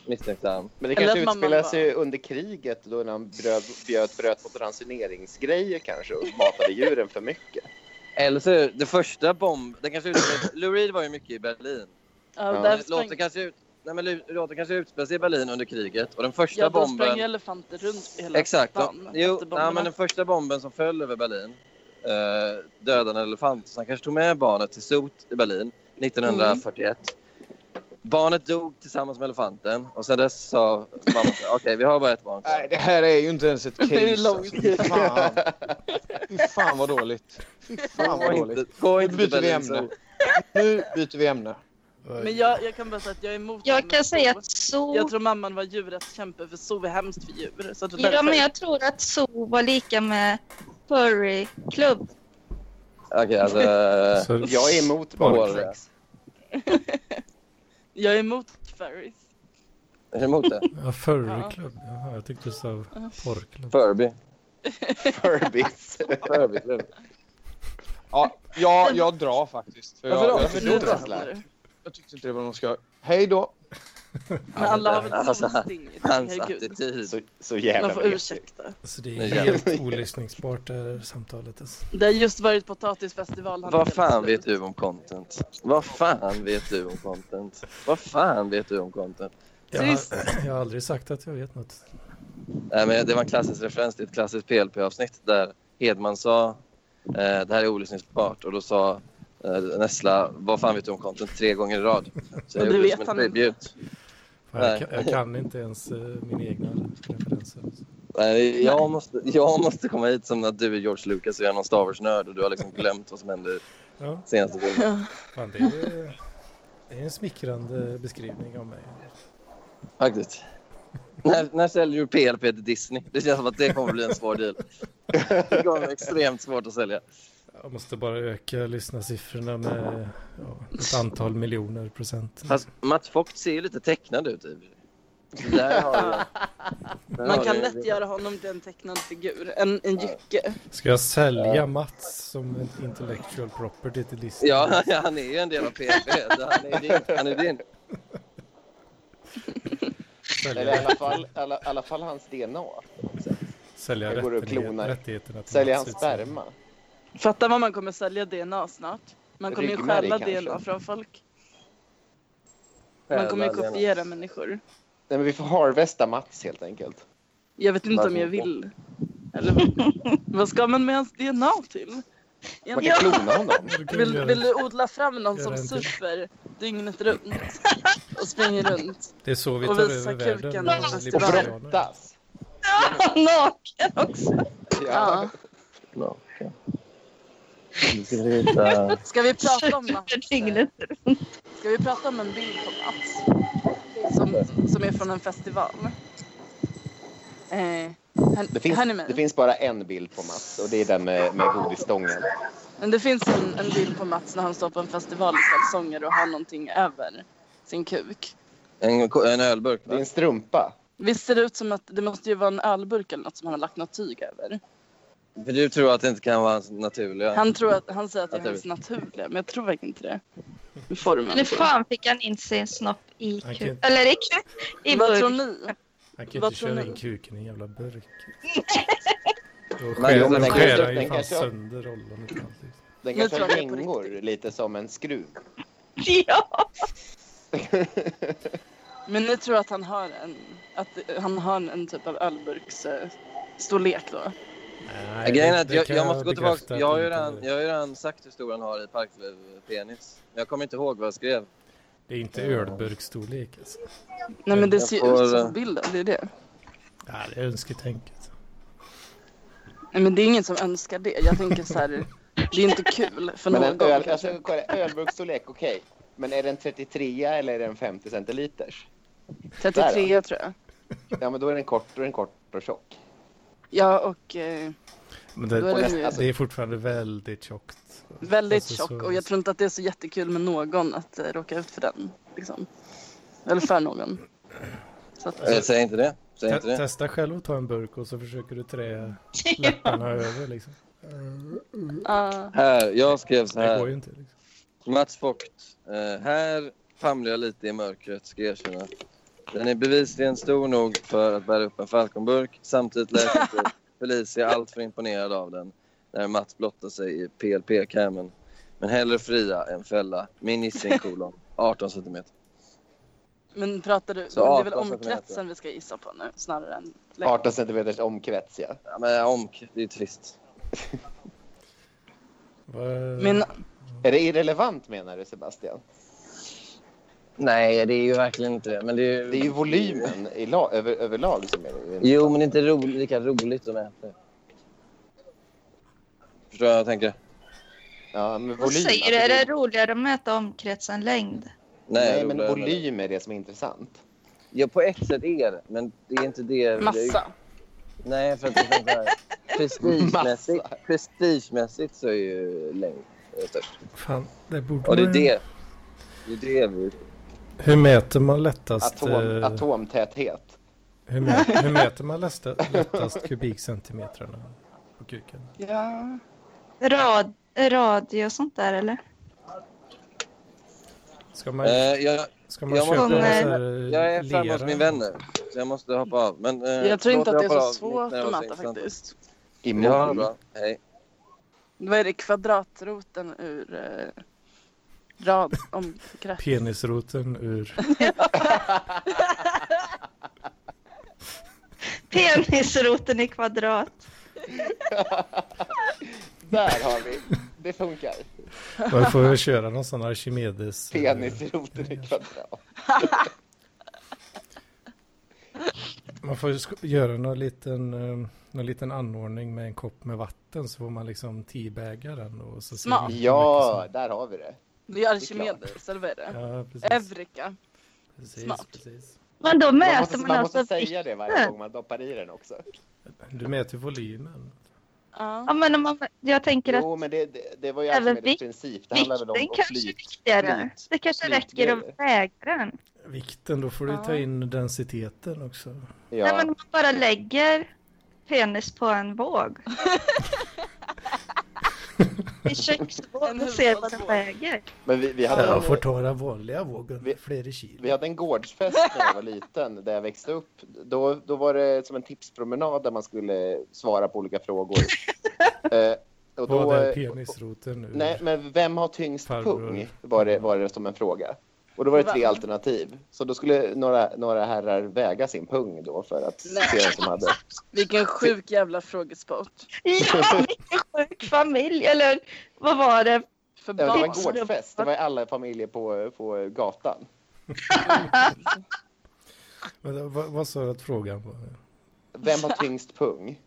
misstänksam. Men det Eller kanske att mamman utspelar bara- sig under kriget då när han bröt, bröt, bröt mot ransoneringsgrejer kanske och matade djuren för mycket. Eller så är det första bomb... Det kanske ut... Lou Reed var ju mycket i Berlin. Ja, Ja. där Men sprang, Låten kanske, ut... Nej, men lu- låten kanske utspelar sig i Berlin under kriget. Och den första ja, då sprang ju bomben... elefanter runt i hela Exakt. stan. Jo, efter bomberna. nej, men den första bomben som föll över Berlin eh, dödade en elefant. Så han kanske tog med barnet till Sot i Berlin 1941. Barnet dog tillsammans med elefanten och sen dess sa mamma så här, okej vi har bara ett barn kvar." Nej, det här är ju inte ens ett case. Det är ju lång alltså. Fy fan. Fy fan vad dåligt. Fy fan vad Gå dåligt. inte, gå Nu inte till byter vi Bellingson. ämne. Nu byter vi ämne. Men jag, jag kan bara säga att jag är emot det, Jag men kan säga så- att zoo... Jag tror mamman var djurrättskämpe för zoo är hemskt för djur. Så att det Ja, men jag tror att zoo var lika med furry-klubb. Okej alltså, eh, Så, Jag är emot Spar- barnsex. jag är emot furries. är du emot det? ja, furryklubb. Jaha, jag tyckte du sa porrklubb. Furby. Furbies. Furbyklubb. Ja, jag, jag drar faktiskt. För jag, Varför då? jag, tyckte Varför du inte, då? det. menar du? jag tyckte inte det var någon ska... Hej då. Men alla har väl Alltså, konsting? Hans Herregud. attityd. Så, så Man jävla får vet ursäkta. Alltså, det Nej, är helt olyssningsbart det här samtalet. Alltså. Det har just varit potatisfestival. han Vad hade fan slut. vet du om content? Vad fan vet du om content? Vad fan vet du om content? Jag, har- Trist. jag har aldrig sagt att jag vet något. Nej, men det var en klassisk referens till ett klassiskt PLP-avsnitt där Hedman sa eh, det här är olyssningsbart och då sa eh, Nessla vad fan vet du om content tre gånger i rad. Så jag Och det gjorde det vet som en han tribut. Fan, Nej. Jag, kan- jag kan inte ens eh, mina egna referenser. alltså. Nej, Jag måste, jag måste komma hit som att du är George Lucas och jag är någon Star Wars-nörd och du har liksom glömt vad som hände Ja, senaste gången. fan, det, är, det är en smickrande beskrivning av mig. Faktiskt. När, när säljer du PLP till Disney? Det känns som att det kommer bli en svår deal. Det kommer bli extremt svårt att sälja. Jag måste bara öka lyssnarsiffrorna med ja, ett antal miljoner procent. Fast Matt Focht ser ju lite tecknad ut. i och för sig. Där har jag. Där Man har kan jag- lätt göra honom till en tecknad figur. En, en jycke. Ska jag sälja Mats som ett intellectual property till Disney? Ja, ja, han är ju en del av PP. så Han är din. Han är din. Sälja, Eller i alla fall, alla, alla fall hans DNA. sälja jag går och rättighet- klonar. rättigheterna till Sälja Mats hans utseende. sperma. Fatta vad man kommer sälja DNA snart. Man kommer ju Ryggmärg stjäla kanske. DNA från folk. Man kommer ju kopiera människor. Nej, men vi får harvesta Mats helt enkelt. Jag vet inte om Varför jag inte? vill. Eller vad, vad ska man med hans DNA till? Man Egentligen- kan klona honom. Du kan Vill, göra- vill du odla fram någon Gör som en till. super dygnet runt? Och springer runt? Det är så vi Och tar visa över världen. kuken med på Och festivalen. liberaler. brottas. Naken också! Ja. Ja. Ska vi prata om Mats? Superdygnet. Ska vi prata om en bild på Mats? Som, som är från en festival. Eh, hör, Det, finns, hör ni mig? det finns bara en bild på Mats och det är den med, med godisstången. Men det finns en, en bild på Mats när han står på en festival i kalsonger och har någonting över sin kuk. En, ko- en ölburk. Det är va? en strumpa. Visst ser det ut som att det måste ju vara en ölburk eller något som han har lagt något tyg över. För du tror att det inte kan vara hans naturliga. Han, tror att, han säger att det är Att det- hans naturliga, men jag tror verkligen inte det. Formen. Nu fan fick han in sin snopp i Han kuk. kan- Eller i kuk. I Vad tror burk. ni? Han kan Vad inte tror köra ni? in kuken i en jävla burk. Då Nej, skär men då skär den kanske- han ju den fan kanske- sönder rollen. och allt, liksom. Den Nu kanske tror har jag det är på gängor lite som en skruv. Ja! Men ni tror att han har en, att eh, han har en typ av ölburks eh, storlek då? Nej, Nej, Grejen det- är att det jag, kan jag måste gå bekräfta tillbaka. att Jag har det ju inte- redan, jag har ju redan sagt hur stor han har i Parklöv-penis. Jag kommer inte ihåg vad jag skrev. Det är inte ölburksstorlek. Alltså. Nej men det Jag ser ju får, ut som eh, på bilden, det är det. Ja, det är önsketänket. Nej men det är ingen som önskar det. Jag tänker så här, det är inte kul för Men någon. en öl, kanske. alltså, kolla, ölburksstorlek, okej. Men är den 33 eller är den 50 centiliters? 33 tror jag. Ja, men då är den kort, då är den kort och tjock. Ja och eh, Men då är det, den ju det är fortfarande väldigt tjockt. väldigt alltså, så- tjock och jag tror inte att det är så jättekul med någon att eh, råka ut för den. Liksom. Eller för någon. Så att, Alltså- Eh, Säg inte det. Säg Te- inte det. testa själv att ta en burk och så försöker du trä läpparna över. Liksom. ah, Här, jag skrev så Det går här. ju inte. Liksom. Mats Vogt. Eh, här famlar jag lite i mörkret, ska jag erkänna. Den är bevisligen stor nog för att bära upp en falkonburk. Samtidigt lät inte Felicia allt för imponerad av den när Mats blottade sig i PLP-camen. Men hellre fria än fälla. Min gissning kolon 18 cm. men pratar du, Så det är väl 18 centimeter. omkretsen vi ska gissa på nu snarare än längden? 18 centimeters omkrets, ja. Ja, men omk, det är trist. Vad- Men Är det irrelevant menar du Sebastian? Nej, det är ju verkligen inte det. Men det är, Det är ju volymen i la, över, överlag som är det. Jo, men det är inte ro, lika roligt att mäta. Förstår vad jag tänker? Ja, men volym, Vad säger du? alltså, Är det roligare att mäta omkrets än längd? Nej, jag men gjorde- volym är det som är intressant. Ja, på ett sätt är det, men det är inte det. Massa. Nej, för att jag tänkte så här. Prestigemässigt, prestigemässigt så är ju längd eh, störst. Fan, det borde Och det är man- det. Det är det vi... Hur mäter man lättast... Atom, eh, atomtäthet. Hur, mä- hur mäter man lästa, lättast kubikcentimetrarna på kuken? Ja. Rad, radio och sånt där eller? Ska man, Eh, jag, ska man jag köpa måste- någon så här, eh, jag är framme hos lera? min vän nu, så jag måste hoppa av. Men, eh, Jag tror inte att förlåt, det är jag hoppar så av svårt mitt när det att var så mäta intressant. faktiskt. I Ja, det är mol. bra. Hej. Vad är det? Kvadratroten ur eh, rad om kraft. Penisroten ur... Penisroten i kvadrat. Där har vi. Det funkar. Man får väl köra någon sån Archimedes... eh, Penisroten i kvadrat. Man får ju sk- göra någon liten, eh, någon liten anordning med en kopp med vatten så får man liksom teabagga den och så ser Smart. man hur Ja, där har vi det. Det är Archimedes, eller vad är det? mycket som- Ja, precis. Eureka. precis, smart. precis. Men då Man mäter måste, man, man alltså måste säga det varje vikten. gång man doppar i den också. Du mäter volymen. Ja, Ja. men om man, jag tänker att Jo, men det, det, det var ju Även Arkimedes vikt- princip. Det handlar väl om vikten att kanske är flyt. viktigare. flyt- Det kanske räcker flytgrejer. att väga den. Vikten, då får du ta Ja. in densiteten också. Nej, men Ja, om man bara lägger penis på en våg. I En köksvåg och ser vad den hushållsvåg. väger. men vi, vi, hade Jag får en, ta den vanliga vågen, Vi- flera kilo. vi hade en gårdsfest när jag var liten, där jag växte upp. Då, då var det som en tipspromenad där man skulle svara på olika frågor. eh, och då, Vad är penisroten ur? Nej, men vem har tyngst Farbror. pung? Var det, var det som en fråga. Och då var det tre Va? alternativ. Så då skulle några, några herrar väga sin pung då för att Nej. se vem som hade. Vilken sjuk jävla frågesport. Ja, vilken sjuk familj! Eller vad var det? För Ja, det var en barn. gårdsfest. Det var alla familjer på, på gatan. Men det- vad, vad sa du att frågan var? Vem har tyngst pung?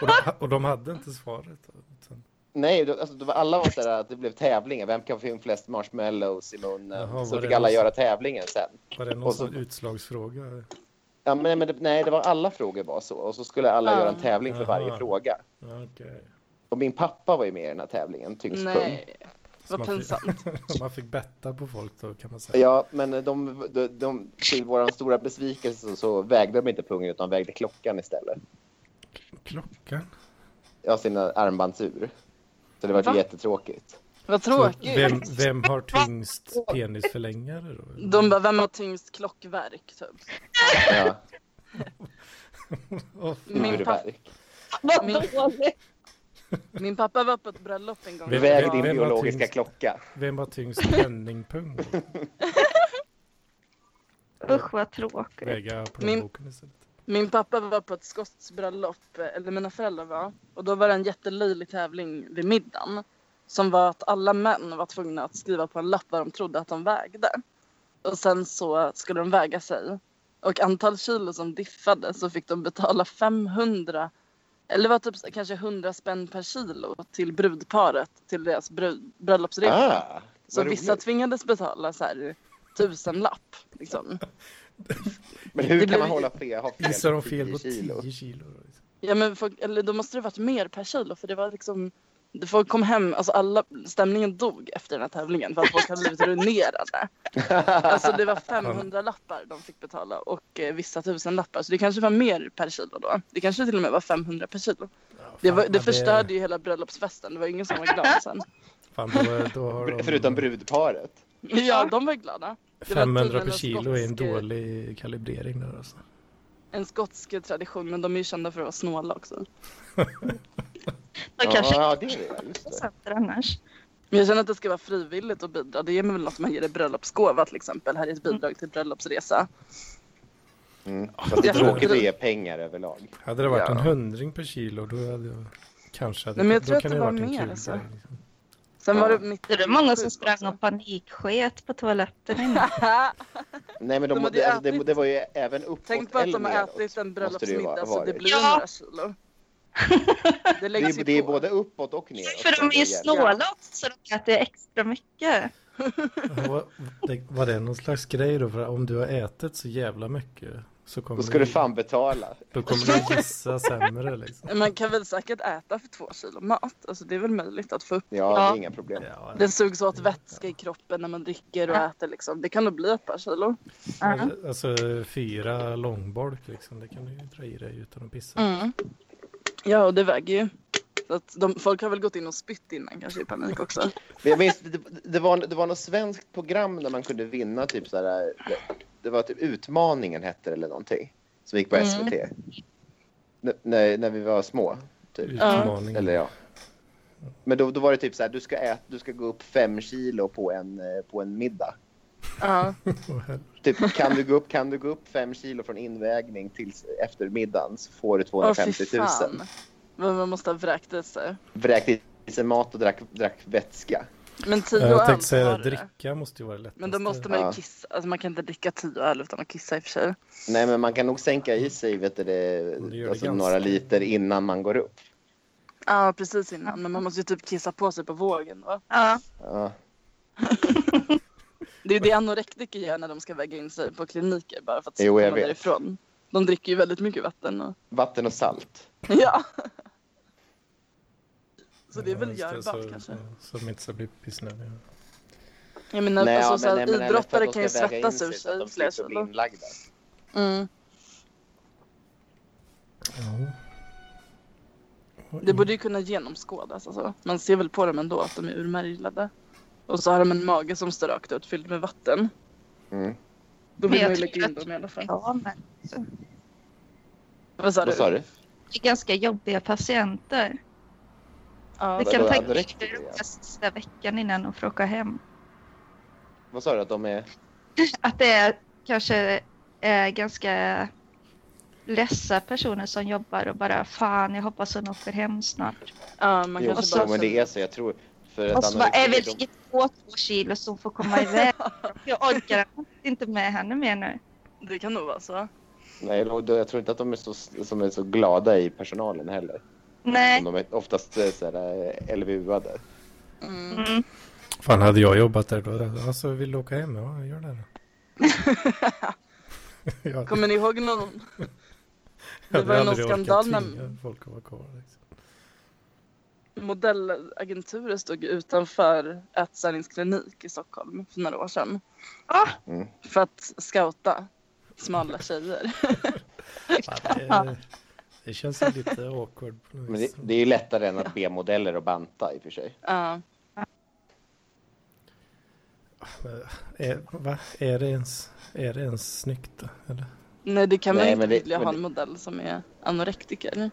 Och de, och de hade inte svaret. då, Utan, Nej, då, alltså, då var alla var så där att det blev tävlingar. Vem kan få in flest marshmallows i munnen? Jaha, var så det fick alla någon- göra tävlingen sen. var det någon Och så- sån utslagsfråga? Ja, men, men, det- nej, det var alla frågor var så. Och så skulle alla Ah. göra en tävling för varje Jaha. fråga. Ja, Okej. Och min pappa var ju med i den här tävlingen, tyngst pung. Nej. Så Vad man fick- pinsamt. Man fick betta på folk då kan man säga. Ja, men de, de, de, till vår stora besvikelse så, så vägde de inte pungen utan vägde klockan istället. Klockan? Ja, sina armbandsur. Så det var Va? jättetråkigt. Vad Så tråkigt. Vem, vem har tyngst penisförlängare då? De bara, vem har tyngst klockverk typ? Ja, Åh, Min, pa- urverk. Vad Min- dåligt! min pappa var på ett bröllop en gång. Vem- Väg vem din har biologiska tyngst? klocka. vem har tyngst penningpung? Usch vad tråkigt. Väga plånboken istället. Min pappa var på ett skotskt bröllop, eller mina föräldrar var. Och då var det en jättelöjlig tävling vid middagen. Som var att alla män var tvungna att skriva på en lapp vad de trodde att de vägde. Och sen så skulle de väga sig. Och antal kilo som diffade så fick de betala 500 eller det var typ så- kanske 100 spänn per kilo till brudparet till deras brud, bröllopsresa. Ah, så vad vissa roligt. tvingades betala så här tusenlapp. Liksom. Men det hur blev- kan man hålla fel? Ha fel Gissar på de fel 10 på kilo? 10 kilo? då, liksom? Ja men folk, eller då måste det varit mer per kilo för det var liksom Folk kom hem, alltså alla, stämningen dog efter den här tävlingen för att folk hade blivit ruinerade. Alltså det var 500 lappar de fick betala och eh, vissa tusen lappar så det kanske var mer per kilo då. Det kanske till och med var 500 per kilo. Det, Fan, var, ja, det förstörde ju hela bröllopsfesten, det var ingen som var glad sen. Fan, då, då har Br- de, Förutom brudparet. Ja, de var glada. Det var 500 tydligen per kilo en är en skotsk- dålig kalibrering där alltså. En skotsk tradition men de är ju kända för att vara snåla också. De kanske Ja, det är det. ja, Just det. procenter annars. Men jag känner att det ska vara frivilligt att bidra. Det är väl något man ger i bröllopsgåva till exempel. Här är ett bidrag till bröllopsresa. Mm. Fast det är tråkigt att ge pengar överlag. Hade det varit Ja. en hundring per kilo då hade jag kanske hade, Nej, men jag då tror att kan det ha var varit en mer, kul alltså. grej, liksom. Sen var det mitt Det är många som sprang och paniksket på toaletten innan. Nej men de, alltså, De hade ju det, det, ätit- det var ju även uppåt Tänk på att de har eller neråt. ätit en måste det ju bröllopsmiddag vara- så det varit. blir Ja. 100 kilo. Det Det, läggs är- ju det är på. både uppåt och neråt. För de är ju snåla också, så de äter extra mycket. Ja, vad- det- Var det någon slags grej då? För att om du har ätit så jävla mycket så kommer Då ska du fan betala. då kommer du gissa sämre liksom. Man kan väl säkert äta för två kilo mat. Alltså det är väl möjligt att få upp. Ja, det Ja. är inga problem. Ja, Det sugs åt vätska i kroppen när man dricker och äter liksom. Det kan nog bli ett par kilo. Alltså fyra långbolk liksom, det kan du ju dra i dig utan att Mm. pissa. Ja, och det väger ju. Så att de, folk har väl gått in och spytt innan kanske i panik också. Men jag minns, det, det, var, det var något svenskt program där man kunde vinna typ så här. Det, det var typ Utmaningen hette det eller någonting. Som gick på Mm. SVT. N- När, när vi var små. Typ. Utmaning. Eller ja. Men då, då var det typ så här, du ska, ät, du ska gå upp fem kilo på en, eh, på en middag. Ja. Åh, helvete. Typ, kan, du gå upp, kan du gå upp fem kilo från invägning till efter middagen så får du Åh 250 fy 000. fan. Men man måste ha vräkt i sig. Vräkt i sig mat och drack, drack vätska. Men tio Jag öl tänkte säga var det. dricka måste ju vara lättast. Men då måste man ju Ja. kissa. Alltså man kan inte dricka tio öl utan att kissa i och för sig. Nej, men man kan nog sänka i sig vet du, det, det gör det alltså, ganska- några liter innan man går upp. Ja, precis innan. Men man måste ju typ kissa på sig på vågen. Va? Ja, Ja. Det är ju det anorektiker gör när de ska väga in sig på kliniker bara för att Jo, jag komma vet. därifrån. De dricker ju väldigt mycket vatten. Och... Vatten och salt. Ja. Så det är Ja, väl just det, görbart så- kanske. Så, så de inte ska bli pissnödiga. Jag menar, Nej, ja, alltså, så nej, här, eller för att idrottare de kan ju ska väga in svettas ur så att sig de flera slipper bli kilo. inlagda. Mm. Ja. Det borde ju kunna genomskådas. Alltså. Man ser väl på dem ändå att de är urmärglade. Och så har de en mage som står rakt ut fylld med vatten. Mm. Då Men vill jag man ju tycker lägga in att- dem i alla fall. ja men Vad sa du? Vad sa du? det är ganska jobbiga patienter. Ja, Det vadå, kan ta anorektiker, ja. ytterligare sista veckan innan de får åka hem. Vad sa du att de är? Att det är kanske är ganska ledsa personer som jobbar och bara fan jag hoppas hon åker hem snart. ja, man Jo, kanske så, bara... men det är så. Jag tror... För att Och så bara anorektiker, Evelyn de- ligger på två kilo så hon får komma iväg. Jag orkar inte med henne mer nu. det kan nog vara så. Nej, då, då, jag tror inte att de är så, som är så glada i personalen heller. Nej. Som De är oftast eh, så här, eh, LVU-ade. Mm. Mm. Fan, hade jag jobbat där då? Alltså, vill du åka hem? Ja, gör det då. jag, Kommer ni ihåg någon? jag det var hade någon aldrig orkat skandal när- tvinga folk att vara kvar. Liksom. Modellagenturer stod ju utanför ätstörningsklinik i Stockholm för några år sedan. Ah. Mm. För att scouta smala tjejer. Ja, det, det känns ju lite awkward på något Men vis. det, det är ju lättare än att be modeller att banta i och för sig. Ja. Är, va? är, det ens, är det ens snyggt? då, Eller? Nej, det kan man Nej, ju inte men det- vilja men ha det- en modell som är anorektiker.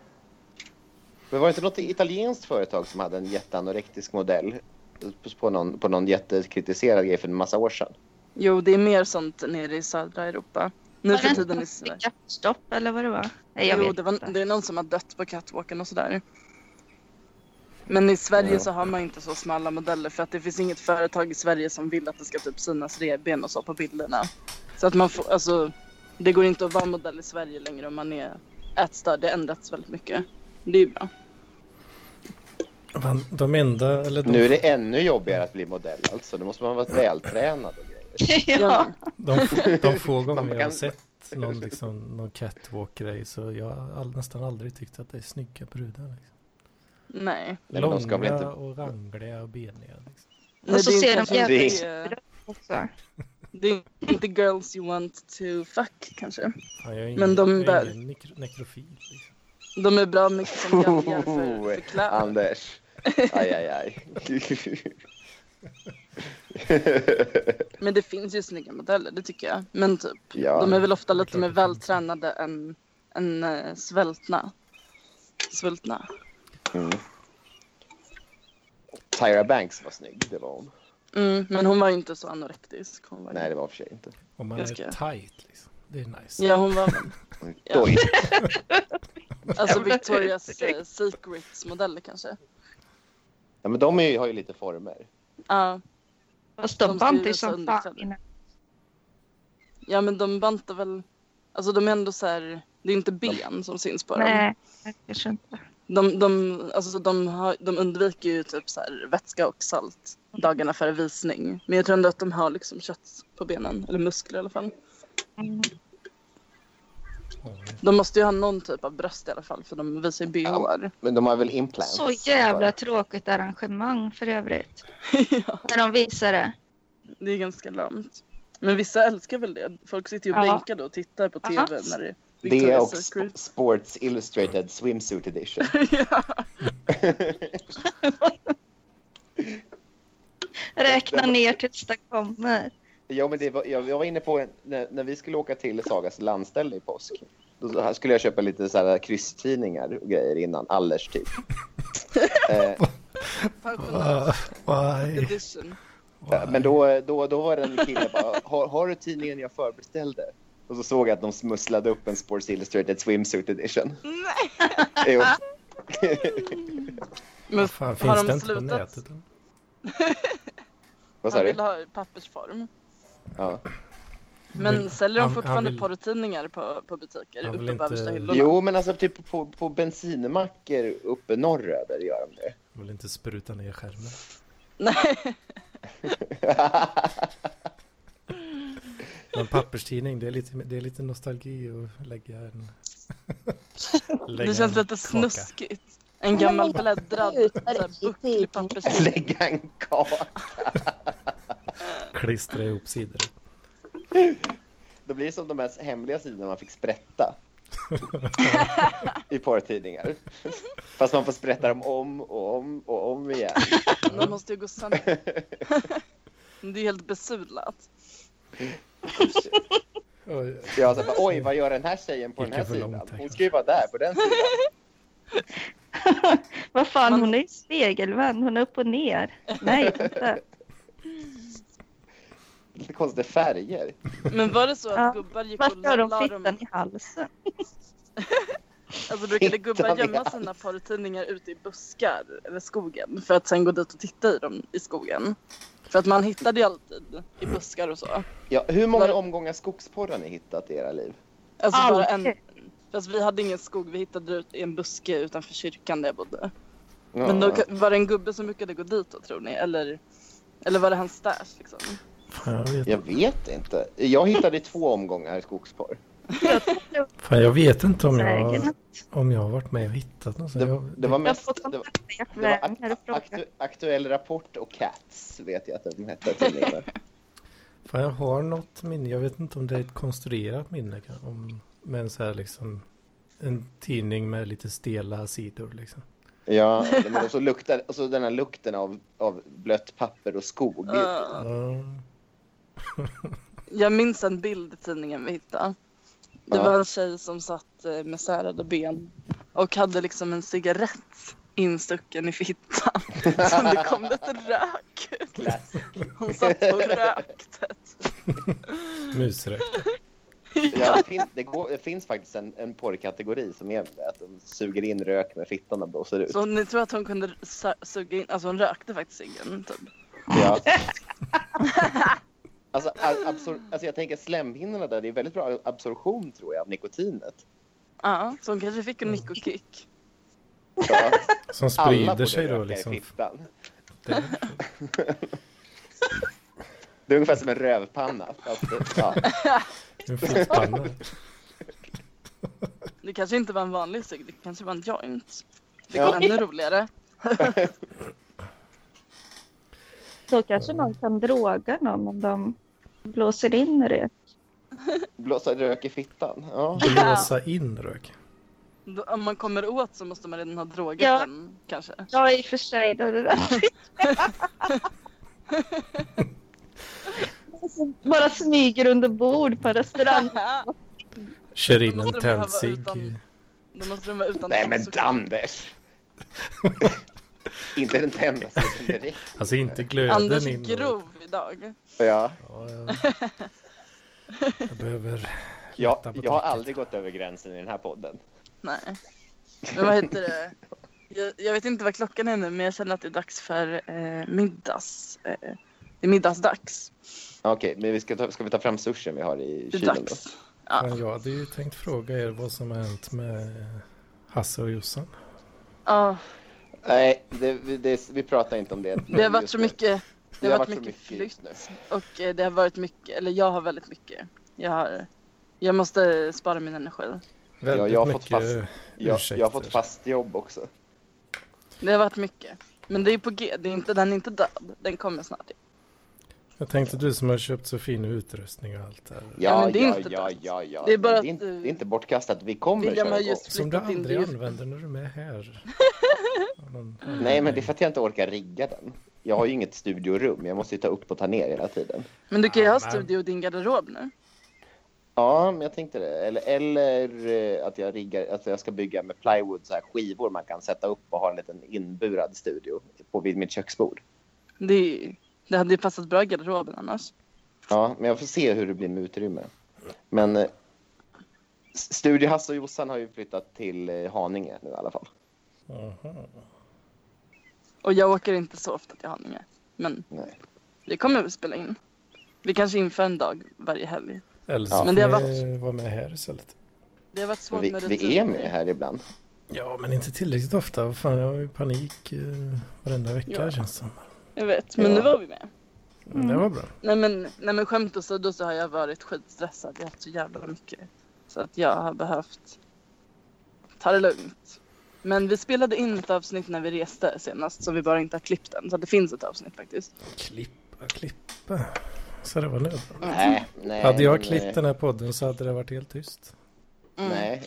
Men var det inte något italienskt företag som hade en jätteanorektisk modell på- på någon, på någon jättekritiserad grej för en massa år sedan? Jo, det är mer sånt nere i södra Europa. Nu Var för det tiden i inte Sverige. Stopp eller vad det var? Nej, jag Jo, vet det, var, inte. det är någon som har dött på catwalken och sådär. Men i Sverige Ja. så har man inte så smala modeller för att det finns inget företag i Sverige som vill att det ska typ synas revben och så på bilderna. Så att man får, alltså, det går inte att vara modell i Sverige längre om man är ätstörd. Det har ändrats väldigt mycket. Det är ju bra. Fan, De enda, eller de, Nu är det ännu jobbigare att bli modell alltså. Då måste man vara vältränad och grejer. ja. de, de få gånger jag har kan- sett någon, liksom, någon catwalk-grej så jag har all, nästan aldrig tyckt att det är snygga brudar. Liksom. Nej. Nej, men Långa de ska väl inte- och rangliga och beniga. Liksom. Nej, så det är ser de kanske jävligt inte- också. Det är inte girls you want to fuck kanske. Fan, jag är ingen, Men de jag bär- är ingen nekro, nekrofil. Liksom. De är bra mycket som galgar Oh. för, för kläder. Anders. Aj, aj, aj. Men det finns ju snygga modeller, det tycker jag. Men typ, Ja. de är väl ofta det är lite klart mer det finns. vältränade än, än eh, svältna. Svultna. Mm. Tyra Banks var snygg, det var hon. Mm, men hon var ju inte så anorektisk. Hon var ju- Nej, det var för sig inte. Om man Jag ska- är tight liksom. Det är nice. Ja, hon var Ja. Oj. alltså Jävlar. Victorias eh, Secrets modeller kanske. Ja, men de är, ju- har ju lite former. Ja. Fast de De bantar skriver ju som sönder fan sönder. innan. ja, men de bantar väl... Alltså de är ändå så här... Det är inte ben som syns på dem. Nej, jag kanske inte. De, de, alltså de, har, de undviker ju typ så här vätska och salt dagarna före visning. Men jag tror ändå att de har liksom kött på benen, eller muskler i alla fall. Mm. De måste ju ha någon typ av bröst i alla fall för de visar ju bh. Men de har väl implants? Så jävla tråkigt arrangemang för övrigt. ja, När de visar det. det är ganska lamt. Men vissa älskar väl det. Folk sitter ju och Ja. blinkar då och tittar på tv Aha. när det är Det Victoria's är också Secret. Sports Illustrated Swimsuit Edition. ja. Räkna ner tills det kommer. Ja, men det var, jag, jag var inne på en, när, när vi skulle åka till Sagas landställe i påsk. Då så här skulle jag köpa lite så här krysstidningar och grejer innan, Allers typ. eh, Pensionär Ah, Why? edition. ja, men då, då, då var det en kille bara, har, har du tidningen jag förbeställde? Och så såg jag att de smusslade upp en Sports Illustrated Swimsuit Edition. Nej. Jo. Men Fan, har finns de det inte på slutat? nätet? eller? Vad sa han du? vill ha i pappersform. Ja. Men Vill- säljer de han- han fortfarande vill- porrtidningar på, på butiker Han vill uppe på inte- översta hyllorna? Jo, men alltså typ på, på bensinmackar uppe norröver gör de det. Jag vill inte spruta ner skärmen. Nej. Men papperstidning, det är lite, det är lite nostalgi att lägga en... lägga Det känns en lite kaka. snuskigt. En gammal bläddrad, så typ här bucklig papperstidning. Lägga en kaka. Klistra ihop sidor. Då blir det som de här hemliga sidorna man fick sprätta. I porrtidningar. Fast man får sprätta dem om och om och om igen. De måste ju gå sönder. Det är helt besudlat. Oj, Jag så bara, Oj, vad gör den här tjejen på Gick den här jag för långt sidan? här Hon ska ju vara där på den sidan. Vad fan, Man- hon är ju spegelvänd. Hon är upp och ner. Nej, Typ inte. Lite konstiga färger. Men var det så att Ja. gubbar gick och Varför la, har de la dem... fittan i halsen? Alltså brukade gubbar Fittan i gömma sina porrtidningar ute i buskar eller skogen för att sen gå dit och titta i dem i skogen? För att man hittade ju alltid i buskar och så. Ja, hur många Var- omgångar skogsporr har ni hittat i era liv? Alltså bara en... Aldrig. Fast vi hade ingen skog, vi hittade ut i en buske utanför kyrkan där jag bodde. Ja. Men då, var det en gubbe som brukade gå dit då tror ni? Eller, eller var det hans stash liksom? fan, jag vet, Jag vet inte. Jag hittade i två omgångar skogsporr. fan, jag vet inte om jag, Säkert. om jag har varit med och hittat någon. sån. Det, jag, det var Jag mest... får Det var, kontakta ert det var vänner ak- och fråga. aktu, aktuell rapport och Cats vet jag att de hette tidningarna. Fan, jag har något minne. Jag vet inte om det är ett konstruerat minne. kan- Om, men så här liksom en tidning med lite stela sidor liksom. Ja, men och så, luktar, och så den här lukten av, av blött papper och skog. Ja. Ja. Eh, Jag minns en bild i tidningen vi hittade. Det Ja. var en tjej som satt eh, med särade ben och hade liksom en cigarett instucken i fittan. Så det kom lite rök ut. Hon satt och rökte. Musrök. Ja, det, finns, det, går, det finns faktiskt en, en porrkategori som är att de suger in rök med fittan och blåser ut. Så ni tror att hon kunde su- suga in, alltså hon rökte faktiskt ciggen typ. Ja. Alltså, a- absor- alltså jag tänker slemhinnorna där, det är väldigt bra absorption tror jag av nikotinet. Ja, så hon kanske fick en nikokick. Ja, Som alla sprider borde sig då röka i liksom. fittan. Det- Det är ungefär som en rövpanna. Fast, det- ja. En fittpanna. Det kanske inte var en vanlig cigg, det kanske var en joint. Det går Ja. ännu roligare. Då kanske någon kan droga någon om de blåser in i det. Blåsa rök i fittan. Ja. Blåsa in rök. Då- Om man kommer åt så måste man redan ha drogat Ja. den kanske. Ja, i och för sig. Då är det rätt. Bara smyger under bord på restaurang. Kör in Då en måste de ju ha varit tändsig. utan- Då måste den vara utan Nej men tändstickor. Anders! Inte den tändaste som direkt. Alltså inte glöden Anders in. och- grov idag. Ja. Ja, ja. Jag behöver... Jag, Lätta på jag har taket. aldrig gått över gränsen i den här podden. Nej. Men vad heter det? Jag, jag vet inte vad klockan är nu men jag känner att det är dags för eh, middags. Eh, det är middagsdags. Okej, men vi ska, ta, ska vi ta fram sushin vi har i Det är kylen då? dags. Ja. Men jag hade ju tänkt fråga er vad som har hänt med Hasse och Jossan. Ja, Nej, det, vi- det, vi pratar inte om det. det har Mm, varit så mycket, det har varit så mycket flytt just nu. och eh, det har varit mycket, eller jag har väldigt mycket. Jag, har, jag måste spara min energi. Väldigt jag har fått mycket fast- Jag, jag har fått ursäkter. fast jobb också. Det har varit mycket. Men det är på G, det är inte, den är inte död. Den kommer snart. Jag tänkte du som har köpt så fin utrustning och allt där. Ja, Ja, men det är ja, inte ja, dött. ja, ja. Det är bara Men att, inte, eh, det är inte bortkastat. Vi kommer William köra har igång. just Som du flyttat in det aldrig just använder när du är med här. Av någon Nej, men det är anledning. för att jag inte orkar rigga den. Jag har ju inget studiorum. Jag måste ju ta upp och ta ner hela tiden. Men du kan ju ha Ah, men- studio och din garderob nu. Ja, men jag tänkte det. Eller, eller eh, att jag riggar, att jag ska bygga med plywood så här skivor man kan sätta upp och ha en liten inburad studio på vid mitt köksbord. Det, är, ju- det hade ju passat bra i garderoben annars. Ja, men jag får se hur det blir med utrymme. Men eh, S- Studio Hasse och Jossan har ju flyttat till eh, Haninge nu i alla fall. Jaha. Och jag åker inte så ofta till Haninge. Men Nej. det kommer vi spela in. Vi kanske inför en dag varje helg. Eller så Ja. får Men det har ni vara med här istället. Det har varit svårt Vi, med vi är med här ibland. Ja, men inte tillräckligt ofta. Vad Fan, jag har ju panik eh, varenda vecka Ja. känns det som. Jag vet, men Ja. nu var vi med. Mm. Det var bra. Nej men, nej men skämt åsido så har jag varit skitstressad. Jag har haft så jävla mycket. Så att jag har behövt ta det lugnt. Men vi spelade in ett avsnitt när vi reste senast så vi bara inte har klippt än. Så det finns ett avsnitt faktiskt. Klippa, klippa. Så det var nu. Nej, nej. Hade jag men, klippt eh, den här podden så hade det varit helt tyst. Nej.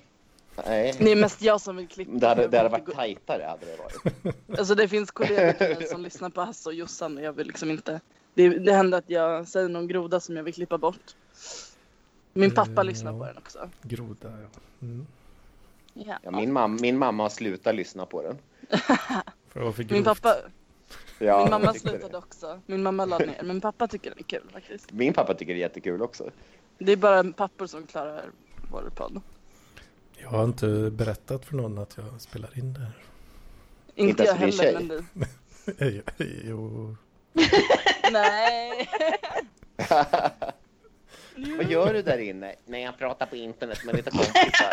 Nej. Det är mest jag som vill klippa. Det hade, det hade Jag vill varit tajtare hade det varit. Alltså det finns kollegor till mig som lyssnar på Hasse och Jossan och jag vill liksom inte. Det, det händer att jag säger någon groda som jag vill klippa bort. Min pappa Mm, lyssnar ja. på den också. Groda, ja. Mm. Ja. Ja, min, mam, min mamma har slutat lyssna på den. För det var för Min grovt. pappa, Ja, min hon mamma tyckte det. slutade också. Min mamma la ner. Men pappa tycker den är kul faktiskt. Min pappa tycker det är jättekul också. Det är bara pappor som klarar vår podd. Jag har inte berättat för någon att jag spelar in det här. Inte, Inte jag ens för din heller men du. jo. Nej. Vad gör du där inne? Nej, jag pratar på internet med lite kompisar.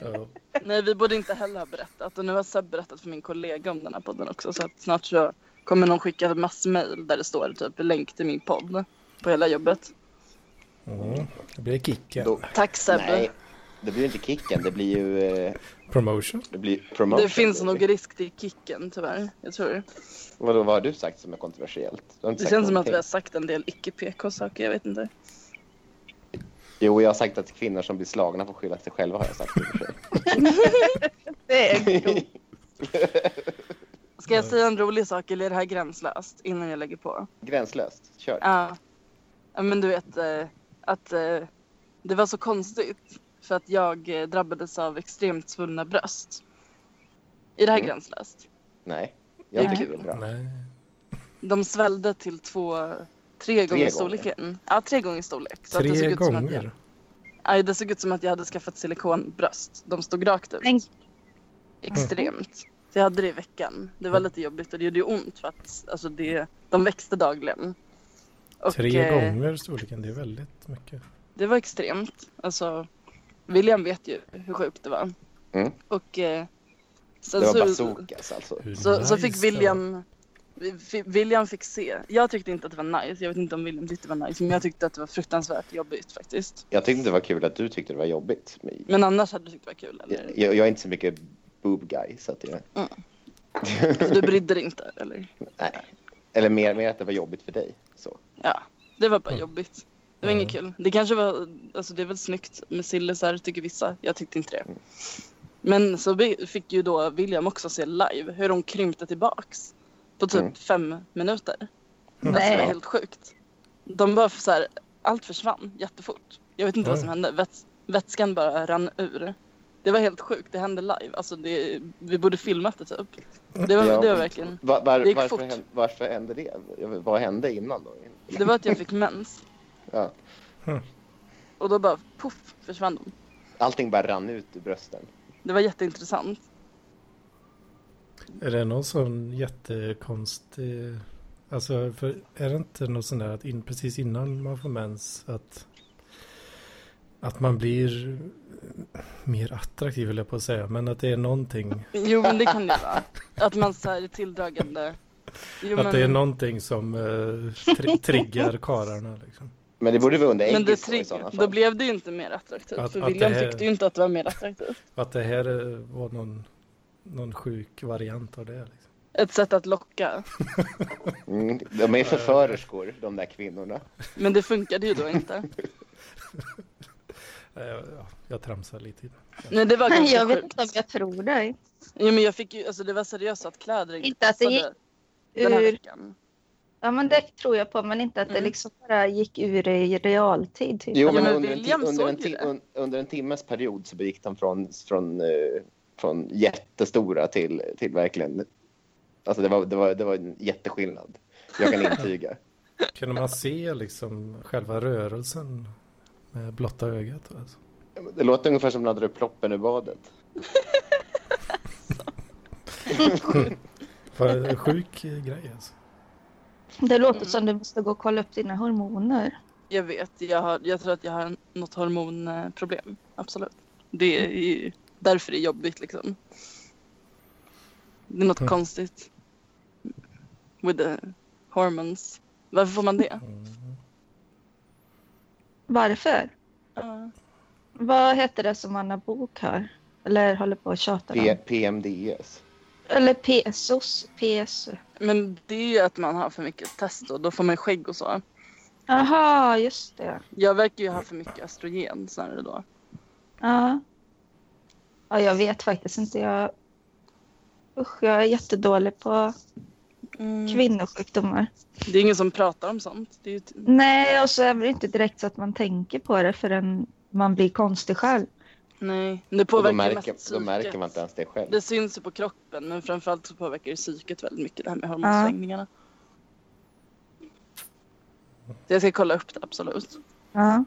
Ja. Nej vi borde inte heller ha berättat. Och nu har Seb berättat för min kollega om den här podden också. Så att snart så kommer någon skicka massmail där det står typ länk till min podd. På hela jobbet. Mm. Det blir kicken. Då- Tack Sebbe. Nej, det blir ju inte kicken. Det blir ju eh, Promotion. det blir promotion. Det finns nog risk till kicken tyvärr. Jag tror det. Vadå, vad har du sagt som är kontroversiellt? Du har inte Det sagt känns som att någonting. vi har sagt en del icke PK saker. Jag vet inte. Jo, jag har sagt att kvinnor som blir slagna får skylla sig själva har jag sagt. i och för sig. Det är Ska jag säga en rolig sak eller är det här gränslöst innan jag lägger på? Gränslöst. Kör. Ja. Ja, Men du vet eh, att eh, det var så konstigt för att jag eh, drabbades av extremt svullna bröst. Är det här Mm. gränslöst? Nej, jag Nej. tycker det är bra. Nej. De svällde till två, tre gånger gånger. storleken. Ja, tre gånger storlek. Så att det såg Tre ut som att jag, gånger. nej, det såg ut som att jag hade skaffat silikonbröst. De stod rakt ut. Men- Extremt. Så jag hade det i veckan. Det var lite jobbigt och det gjorde ju ont för att alltså, det, de växte dagligen. Och, Tre eh, gånger storleken. Det är väldigt mycket. Det var extremt. Alltså, William vet ju hur sjukt det var. Mm. Och eh, sen Det var så, bazookas alltså. Hur så, så nice det fick var. William vi- fi- William fick se. Jag tyckte inte att det var nice. Jag vet inte om William tyckte det var nice, men jag tyckte att det var fruktansvärt jobbigt faktiskt. Jag tyckte det var kul att du tyckte det var jobbigt. Men Men annars hade du tyckt det var kul, eller? jag, jag är inte så mycket boob guy. Så att jag... Du brydde dig inte, eller? Nej. Eller mer, mer att det var jobbigt för dig. Så. Ja, det var bara jobbigt. Det var Mm. inget kul. Det kanske var, alltså det är väl snyggt med sillisar tycker vissa. Jag tyckte inte det. Men så vi- fick ju då William också se live hur de krympte tillbaks på typ Mm. fem minuter. Alltså det var Nej. helt sjukt. De bara så här, allt försvann jättefort. Jag vet inte vad som hände. Väts, vätskan bara rann ur. Det var helt sjukt. Det hände live. Alltså det, vi borde filmat det typ. Det var, Ja. det var verkligen. Va- var, Det gick varför, fort. hände, varför hände det? Jag vet- Vad hände innan då? Det var att jag fick mens. Ja. Hm. Och då bara poff försvann de. Allting bara rann ut ur brösten. Det var jätteintressant. Är det någon sån jättekonstig... Alltså, för är det inte något sånt där att in, precis innan man får mens att, att man blir mer attraktiv, vill jag på att säga. Men att det är någonting, Jo, men det kan det vara. Att man så här är tilldragande. Jo, att det är någonting som eh, tri- triggar karlarna. Liksom. Men det borde vara under men det ägget då i sådana trigg, fall. då blev det ju inte mer attraktivt. Att- för att William det här- tyckte ju inte att det var mer attraktivt. Att det här eh, var någon, någon sjuk variant av det. Liksom. Ett sätt att locka. Mm, de är förförerskor, de där kvinnorna. Men det funkade ju då inte. Eh, Ja, jag tramsar lite. i det. Nej, det var ganska Jag vet sjukt. inte om jag tror dig. Jo, men jag fick ju, alltså det var seriöst att kläder inte Inte att det passade gick den här ur. veckan. Ja, men det tror jag på, men inte att det Mm. liksom bara gick ur i realtid. Typ. Jo, Ja, men men under en, ti- William under, såg en ju ti- det. un, under en timmes period så begick de från, från, eh, från jättestora till, till verkligen... Alltså det var, det, var, det var en jätteskillnad. Jag kan intyga. Kunde man se liksom själva rörelsen med blotta ögat? Alltså? Det låter ungefär som när du upp ploppen ur badet. För en sjuk eh, grej alltså. Det låter som du måste gå och kolla upp dina hormoner. Jag vet, jag, har, jag tror att jag har något hormonproblem. Absolut. Det är ju därför det är jobbigt liksom. Det är något Mm. konstigt. With the hormones. Varför får man det? Mm. Varför? Ja. Vad heter det som Anna Bok har? Eller håller på att tjata om? P- E PMDS. Eller PSOS. PSO. Men det är ju att man har för mycket testo. Då får man skägg och så. Aha, just det. Jag verkar ju ha för mycket östrogen snarare då. Ja. ja, jag vet faktiskt inte. Jag... Usch, jag är jättedålig på Mm. Mm. kvinnosjukdomar. Det är ingen som pratar om sånt. Det är ju t- Nej, och så är det inte direkt så att man tänker på det förrän man blir konstig själv. Nej, det Och påverkar då ju märker, mest då märker psyket. man inte ens det själv. Det syns ju på kroppen men framförallt så påverkar det psyket väldigt mycket det här med hormonsvängningarna. Så jag ska kolla upp det absolut. Ja.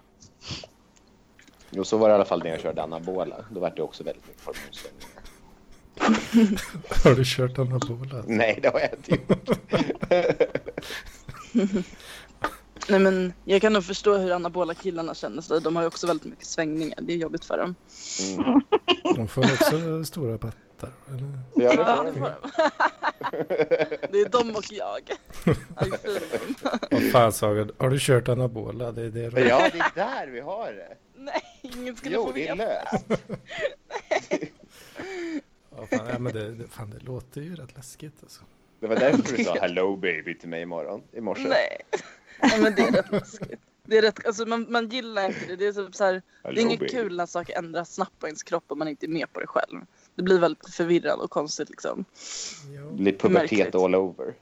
Jo, så var det i alla fall när jag körde anabola. Då var det också väldigt mycket hormonsvängningar. Har du kört anabola? Alltså? Nej, det har jag inte gjort. Nej men jag kan nog förstå hur anabola killarna känner sig. De har ju också väldigt mycket svängningar. Det är jobbigt för dem. Mm. De får också stora pattar. Eller? Så jag- Ja, det, får de. det är de och jag. Aj, fy. Vad fan Saga, har du kört anabola? Det är det du... Ja, det är där vi har det. Nej, ingen skulle Jo, få det är veta. löst. Ja, fan, ja, men det, det, fan, det låter ju rätt läskigt alltså. Det var därför du sa hello baby till mig imorgon, i morse. Nej. Nej men det är rätt läskigt. Det är rätt, alltså man, man gillar inte det. Det är typ så här, Det är inget kul när saker ändras snabbt på ens kropp och man inte är med på det själv. Det blir väldigt förvirrande och konstigt liksom. Ja. Lite pubertet Märkligt. all over.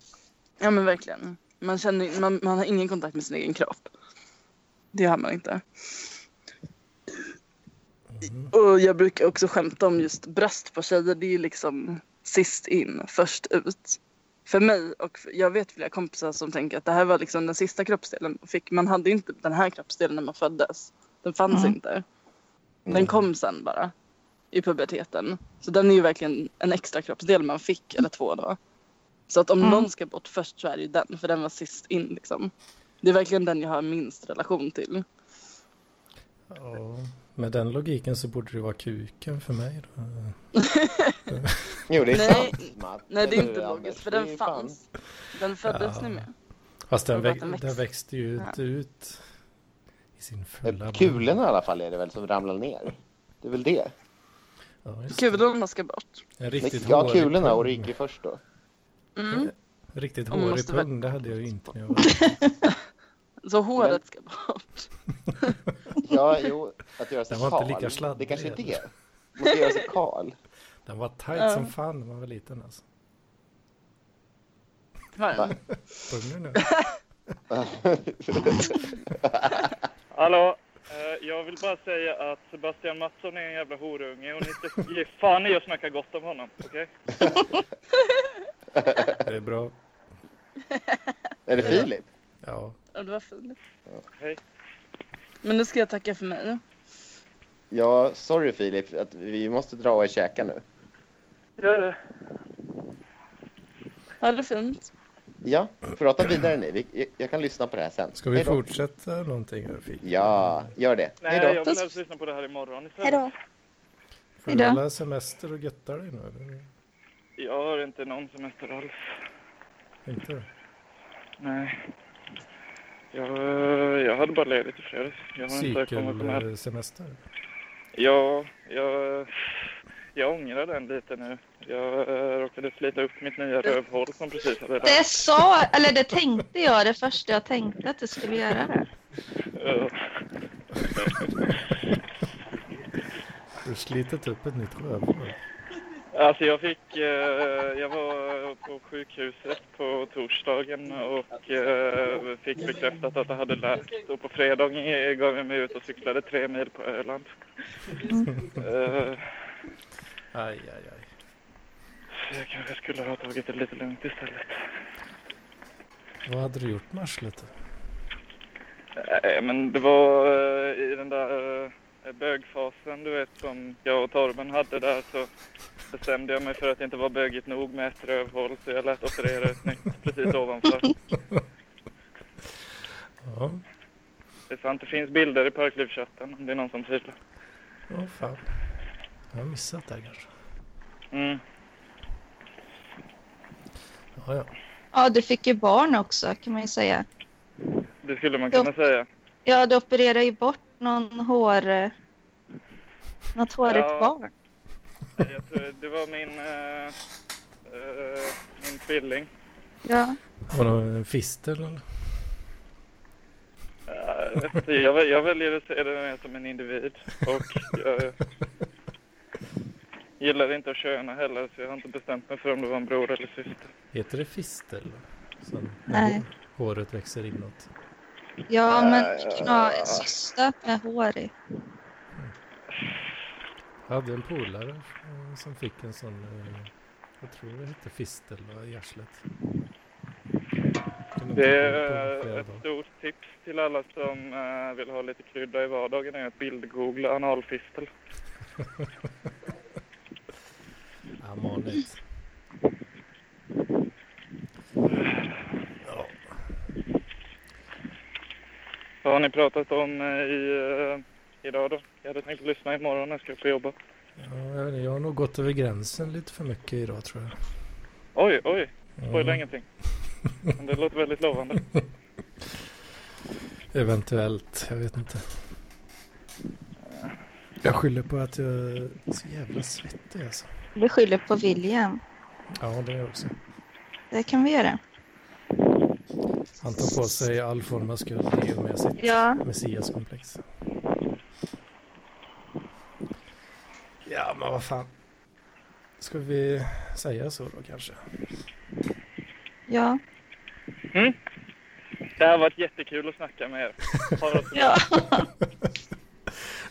Ja men verkligen. Man, känner, man, man har ingen kontakt med sin egen kropp. Det har man inte. Och jag brukar också skämta om just bröst på tjejer. Det är ju liksom sist in, först ut. För mig och för, jag vet flera kompisar som tänker att det här var liksom den sista kroppsdelen man fick. Man hade inte den här kroppsdelen när man föddes. Den fanns Mm. inte. Den kom sen bara i puberteten. Så den är ju verkligen en extra kroppsdel man fick, eller två då. Så att om Mm. någon ska bort först så är det ju den, för den var sist in liksom. Det är verkligen den jag har minst relation till. Ja. Med den logiken så borde det vara kuken för mig. Då. Jo, det Nej. är sant, Matt. Nej det är Eller hur, inte Anders? logiskt, för Det är den ju fan- fanns. Den föddes Ja. ni med. Fast den, Och bara väx, att den växte. den växte ju inte ut i sin fulla... Kulorna i alla fall är det väl som ramlar ner? Det är väl det? Ja, just det. Kulorna ska bort. En riktigt Ja, hårig kulorna och pung. Rygge först då. Mm. Riktigt Och man hårig måste väl- pung, det hade jag ju inte när jag var... Så håret ska bort. Ja, jo, att göra sig Den var inte kal. lika sladdrig. Det kanske är det. Måste göra sig kal. Den var tight Ja. som fan när man var liten alltså. Var den? Va? Pungen nu. Hallå, eh, jag vill bara säga att Sebastian Mattsson är en jävla horunge och ni ska ge fan i att snacka gott om honom, okej? Det är bra. Är det Filip? Ja. Ja, det var fint. Hej. Men nu ska jag tacka för mig. Ja, sorry Filip, att vi måste dra och käka nu. Gör det. Ja, det är fint. Ja, prata vidare ni. Vi- jag- Jag kan lyssna på det här sen. Ska vi Hej då. fortsätta någonting? här, Filip? Ja, gör det. Nej, Hej då. jag vill helst lyssna på det här imorgon istället. Får du Hejdå. alla semester och göttar dig nu? eller? Jag har inte någon semester alls. Inte det? Nej. Jag, jag hade bara ledigt i fredags. Jag har inte kommit på något. Cykelsemester? Ja, jag, jag ångrar den lite nu. Jag eh, råkade slita upp mitt nya rövhål som precis hade ramlat. Det sa, eller det tänkte jag, det första jag tänkte att du skulle göra det. Ja. Har du slitit upp ett nytt rövhål? Alltså jag fick, eh, jag var på sjukhuset på torsdagen och eh, fick bekräftat att det hade läkt och på fredagen eh, gav jag mig ut och cyklade tre mil på Öland. Eh, Aj, aj, aj. jag kanske skulle ha tagit det lite lugnt istället. Vad hade du gjort med arslet? Nej, men det var eh, i den där eh, bögfasen du vet som jag och Torben hade där så bestämde jag mig för att det inte var bögigt nog med ett rövhål så jag lät operera ett nytt precis ovanför. Ja, Det är sant, det finns bilder i Parklivschatten om det är någon som tvivlar. åh fan. Jag har missat det här kanske. Mm. Ja, ja. Ja, du fick ju barn också kan man ju säga. Det skulle man kunna Ja. säga. Ja, du opererade ju bort någon hår... eh, Något hårigt Ja. barn. Jag tror, det var min, eh, eh, min tvilling. Ja. Var det en fistel eller? Eh, jag vet inte, jag, väl- jag väljer att se den mer som en individ. Och jag gillar inte att köna heller så jag har inte bestämt mig för om det var en bror eller syster. Heter det fistel? Sen, Nej. Håret växer inåt. ja, men du kan ha en cysta med hår i. Jag hade en polare eh, som fick en sån, eh, jag tror det hette fistel va, i arslet. Kunde inte Det komma på är eh, flera ett dagar. stort tips till alla som eh, vill ha lite krydda i vardagen är att bildgoogla analfistel. Ja, manigt. Ja, Vad har ni pratat om eh, i, eh, idag då? Jag hade tänkt lyssna imorgon när jag ska upp och jobba. ja, jag, vet inte, jag har nog gått över gränsen lite för mycket idag tror jag. Oj, oj. Spoila Mm. ingenting. Men det låter väldigt lovande. Eventuellt, jag vet inte. Jag skyller på att jag är så jävla svettig alltså. Vi skyller på William. Ja, det är jag också. Det kan vi göra. Han tar på sig all form av skuld i och med sitt Ja. messiaskomplex. Ja, men vad fan. Ska vi säga så då kanske? Ja. Det har varit jättekul att snacka med er. Ha det så bra. Ja.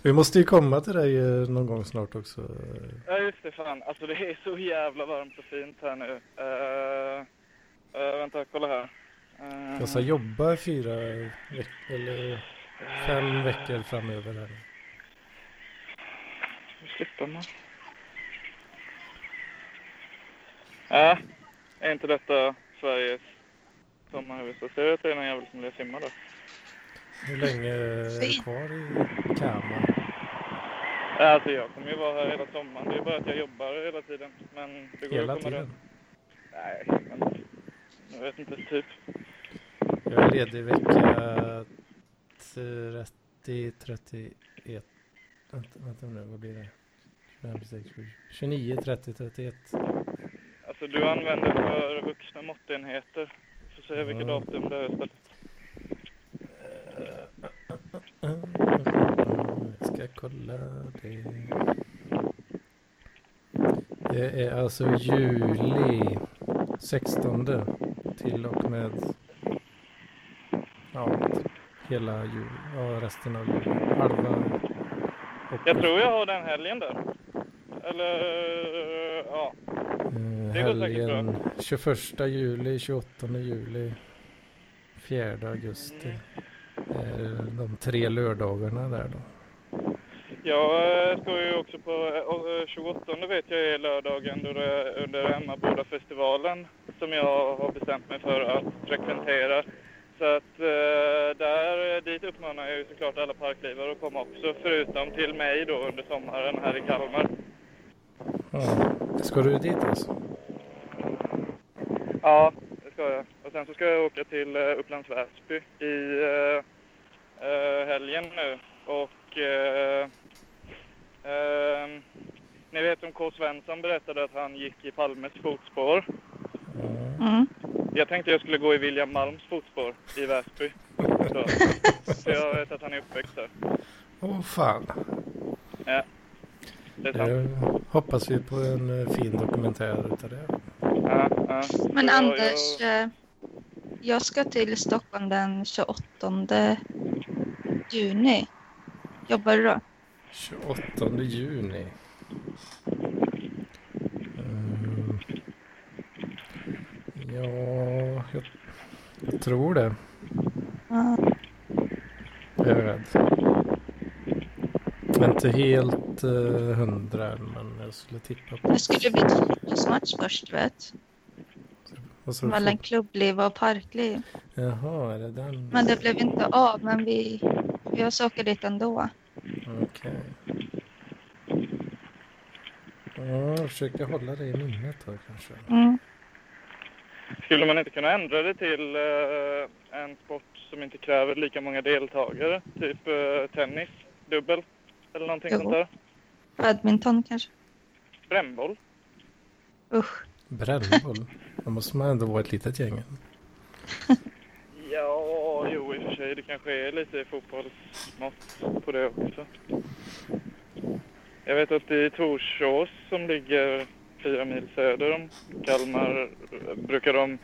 Vi måste ju komma till dig eh, någon gång snart också. eh, ja, just det. Fan. Alltså det är så jävla varmt och fint här nu. Eh, eh, vänta, kolla här. Eh, Jag ska Alltså, jobba fyra veckor eller fem veckor framöver här. nu slipper man. Ja, är inte detta Sveriges sommarhuvudstad? Ser du att det är någon jävel som vill simma där? Hur länge är du kvar i Kalmar? Ja, Alltså jag kommer ju vara här hela sommaren. Det är bara att jag jobbar hela tiden. Men det går ju Hela att komma runt. tiden? Nej, men jag vet inte. Typ. Jag är ledig vecka 30, 31. Vänta, vänta nu, vad blir det? 25, 26, 27, 29, 30, 31. Alltså du använder för vuxna måttenheter. Får se vilket Ja. datum det är istället. Jag ska kolla det. Det är alltså juli 16 till och med ja, hela juli, ja, resten av juli, halva. Jag tror jag har den helgen där. Eller ja. Eh, Det går säkert bra. helgen 21 juli, 28 juli, 4 augusti. Eh, De tre lördagarna där då. Jag eh, ska ju också på eh, 28 vet jag är lördagen då det är under Emmaboda-festivalen som jag har bestämt mig för att frekventera. Så att eh, där, dit uppmanar jag ju såklart alla parklivare att komma också förutom till mig då under sommaren här i Kalmar. Ja. Ska du dit alltså? Ja, det ska jag. Och sen så ska jag åka till eh, Upplands Väsby i eh, eh, helgen nu. Och eh, ehm, ni vet som K. Svensson berättade att han gick i Palmes fotspår. Mm. Jag tänkte jag skulle gå i William Malms fotspår i Väsby. Så, för jag vet att han är uppväxt där. Åh fan. Ja, det är sant. Jag hoppas vi på en eh, fin dokumentär utav det. Ja, ja. Men Så jag- Anders, eh, jag ska till Stockholm den 28 juni. Jobbar du då? 28 juni. Mm. Ja, jag, jag tror det. Ja. Jag är rädd. Jag är inte helt eh, hundra än, men jag skulle tippa på... Det skulle bli ett fotbollsmatch först, du vet. Vad sa du? Mellan klubbliv och parkliv. Jaha, är det den? Men det blev inte av, men vi, vi ska åka dit ändå. Okej. Ja, jag försöker hålla det i minnet då kanske. Mm. Skulle man inte kunna ändra det till eh, en sport som inte kräver lika många deltagare? Typ eh, tennis, dubbel eller någonting Jo. sånt där? Badminton kanske? Brännboll? Usch. Brännboll? Då måste man ändå vara ett litet gäng. Ja, jo i och för sig. Det kanske är lite fotbollsmått på det också. Jag vet att i Torsås som ligger fyra mil söder om Kalmar eh, brukar de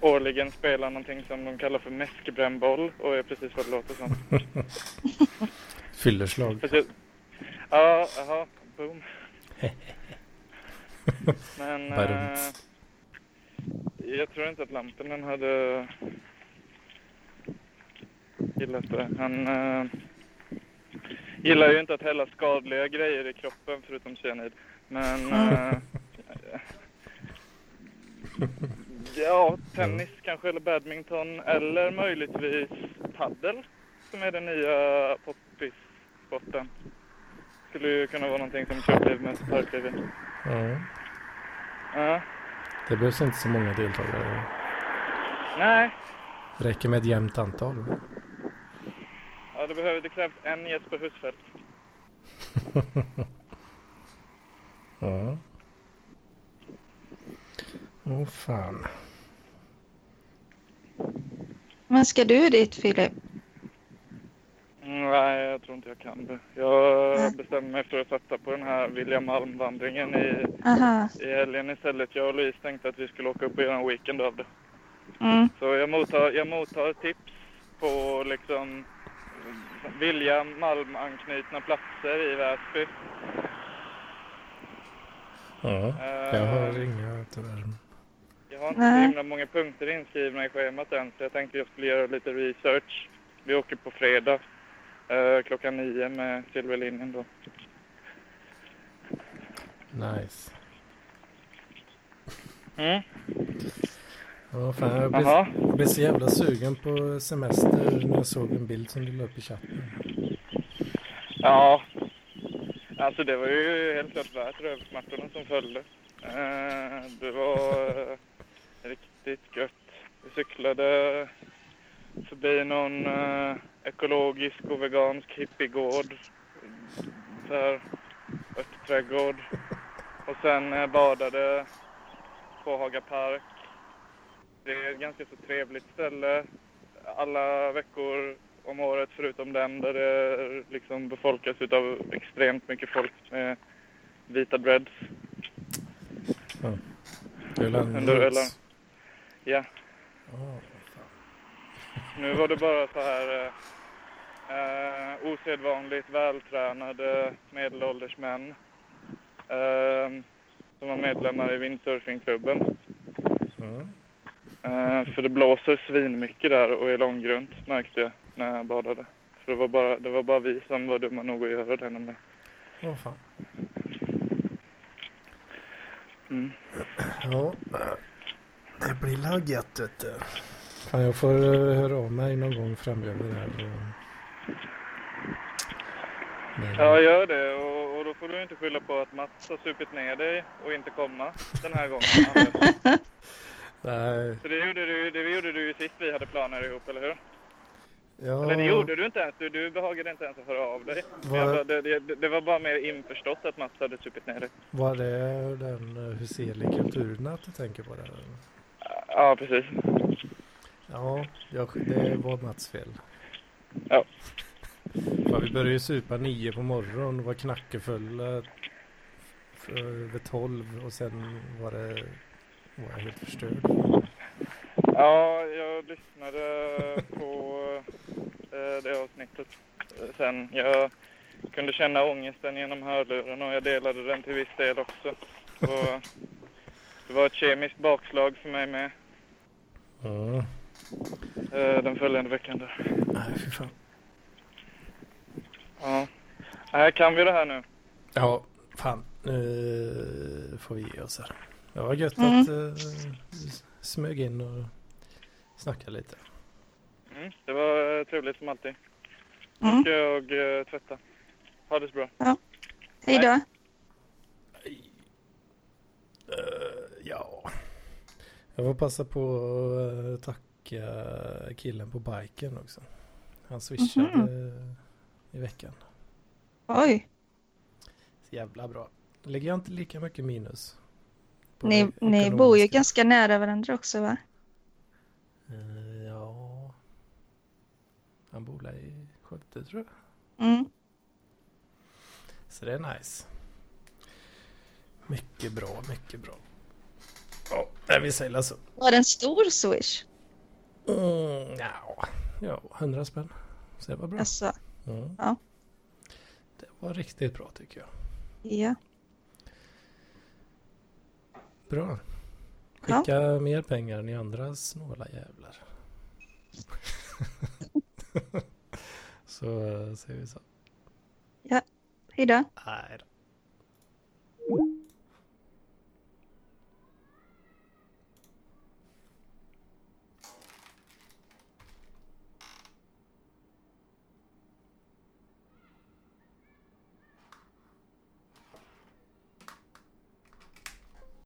årligen spela någonting som de kallar för mäskbrännboll och är precis vad det låter som. Fyllerslag. Fast jag... Ja, jaha, boom. Men eh, Badumts. jag tror inte att Lampinen hade gillat det. Han eh, gillar ju inte att hälla skadliga grejer i kroppen förutom cyanid. Men eh, ja, tennis kanske eller badminton eller möjligtvis paddel som är den nya poppissporten. Skulle ju kunna vara någonting som klubbliv möter parkliv i. Ja. Ja. Det behövs inte så många deltagare. Nej, Räcker med ett jämnt antal. ja, det, behöver, det krävs en Jesper Husfeldt. Ja. Åh fan. Men ska du dit, Filip? Mm, Nej, jag tror inte jag kan det. Jag bestämmer mig för att satsa på den här William Malm-vandringen i, Aha. i helgen istället. Jag och Louise tänkte att vi skulle åka upp och göra en weekend av det. Mm. Så jag mottar, jag mottar tips på liksom mm, vilja Malm-anknutna platser i Väsby. Ja. Jag har inga tyvärr. Eh, Jag har inte så Nej. himla många punkter inskrivna i schemat än så jag tänkte jag skulle göra lite research. Vi åker på fredag eh, klockan nio med Silverlinjen då. Nice. Mm. Ja, fan, jag, blev, Jaha. jag blev så jävla sugen på semester när jag såg en bild som du la upp i chatten. Ja, alltså det var ju helt klart värt rövsmärtorna som följde. Eh, det var eh, riktigt gött. Vi cyklade förbi någon eh, ekologisk och vegansk hippiegård. Där, örtträdgård. Och sen eh, badade på Haga park. Det är ett ganska så trevligt ställe. Alla veckor om året förutom den där det liksom befolkas utav extremt mycket folk med vita dreads. Öland. Under Öland. Ja, Ja. nu var det bara så här eh, eh, osedvanligt vältränade medelålders män eh, som var medlemmar i windsurfingklubben. Ja. Eh, för det blåser svinmycket där och är långgrunt märkte jag när jag badade. För det var bara, det var bara vi som var dumma nog att göra det nämligen. Åh fan. Mm. Ja. Det blir laggat vet du. Fan, jag får eh, höra av mig någon gång framöver här. eh. Men, Ja, gör det. Och, och då får du inte skylla på att Mats har supit ner dig och inte komma den här gången. Nej. Så det gjorde du, det gjorde du ju sist vi hade planer ihop, eller hur? Ja. Eller det gjorde du inte ens. Du, du behagade inte ens höra av dig. Vad- Jag bara- Det, det, det var bara mer införstått att Mats hade supit ner dig. Var det den eh, Huseli kulturnatt du tänker på? Där? Ja, precis. Ja, jag, det var Mats fel. Ja. Fan, vi började ju supa nio på morgonen och var knackefulla f- vid tolv och sen var det var jag helt förstörd. Ja, jag lyssnade på eh, det avsnittet eh, sen. Jag kunde känna ångesten genom hörluren och jag delade den till viss del också. Så det var ett kemiskt bakslag för mig med Ja, eh, den följande veckan. Där. nej fy fan. Ja. Här kan vi det här nu. Ja, fan. Nu eh, får vi ge oss här. Det var gött Mm. att uh, smög in och snacka lite. Mm, det var eh, trevligt som alltid. Mm. Nu ska jag eh, tvätta. Ha det så bra. Ja. Hej då. Eh, ja. Jag får passa på att eh, tacka killen på biken också. Han swishade Mhm. i veckan. Oj, Jävla bra. Lägger jag inte lika mycket minus? på ni, det ni bor ju ganska nära varandra också va? Eh, ja. Han bor där i Skövde tror jag. Mm. Så det är nice. Mycket bra, mycket bra. Ja, nej, vi säger så. Var det en stor swish? Mm, ja. ja, 100 spänn. Så det var bra. Alltså, Mm. ja. Det var riktigt bra tycker jag. ja. Bra. Skicka mer pengar än ni andra snåla jävlar. så eh, säger vi så. ja. Hej då. Nej då.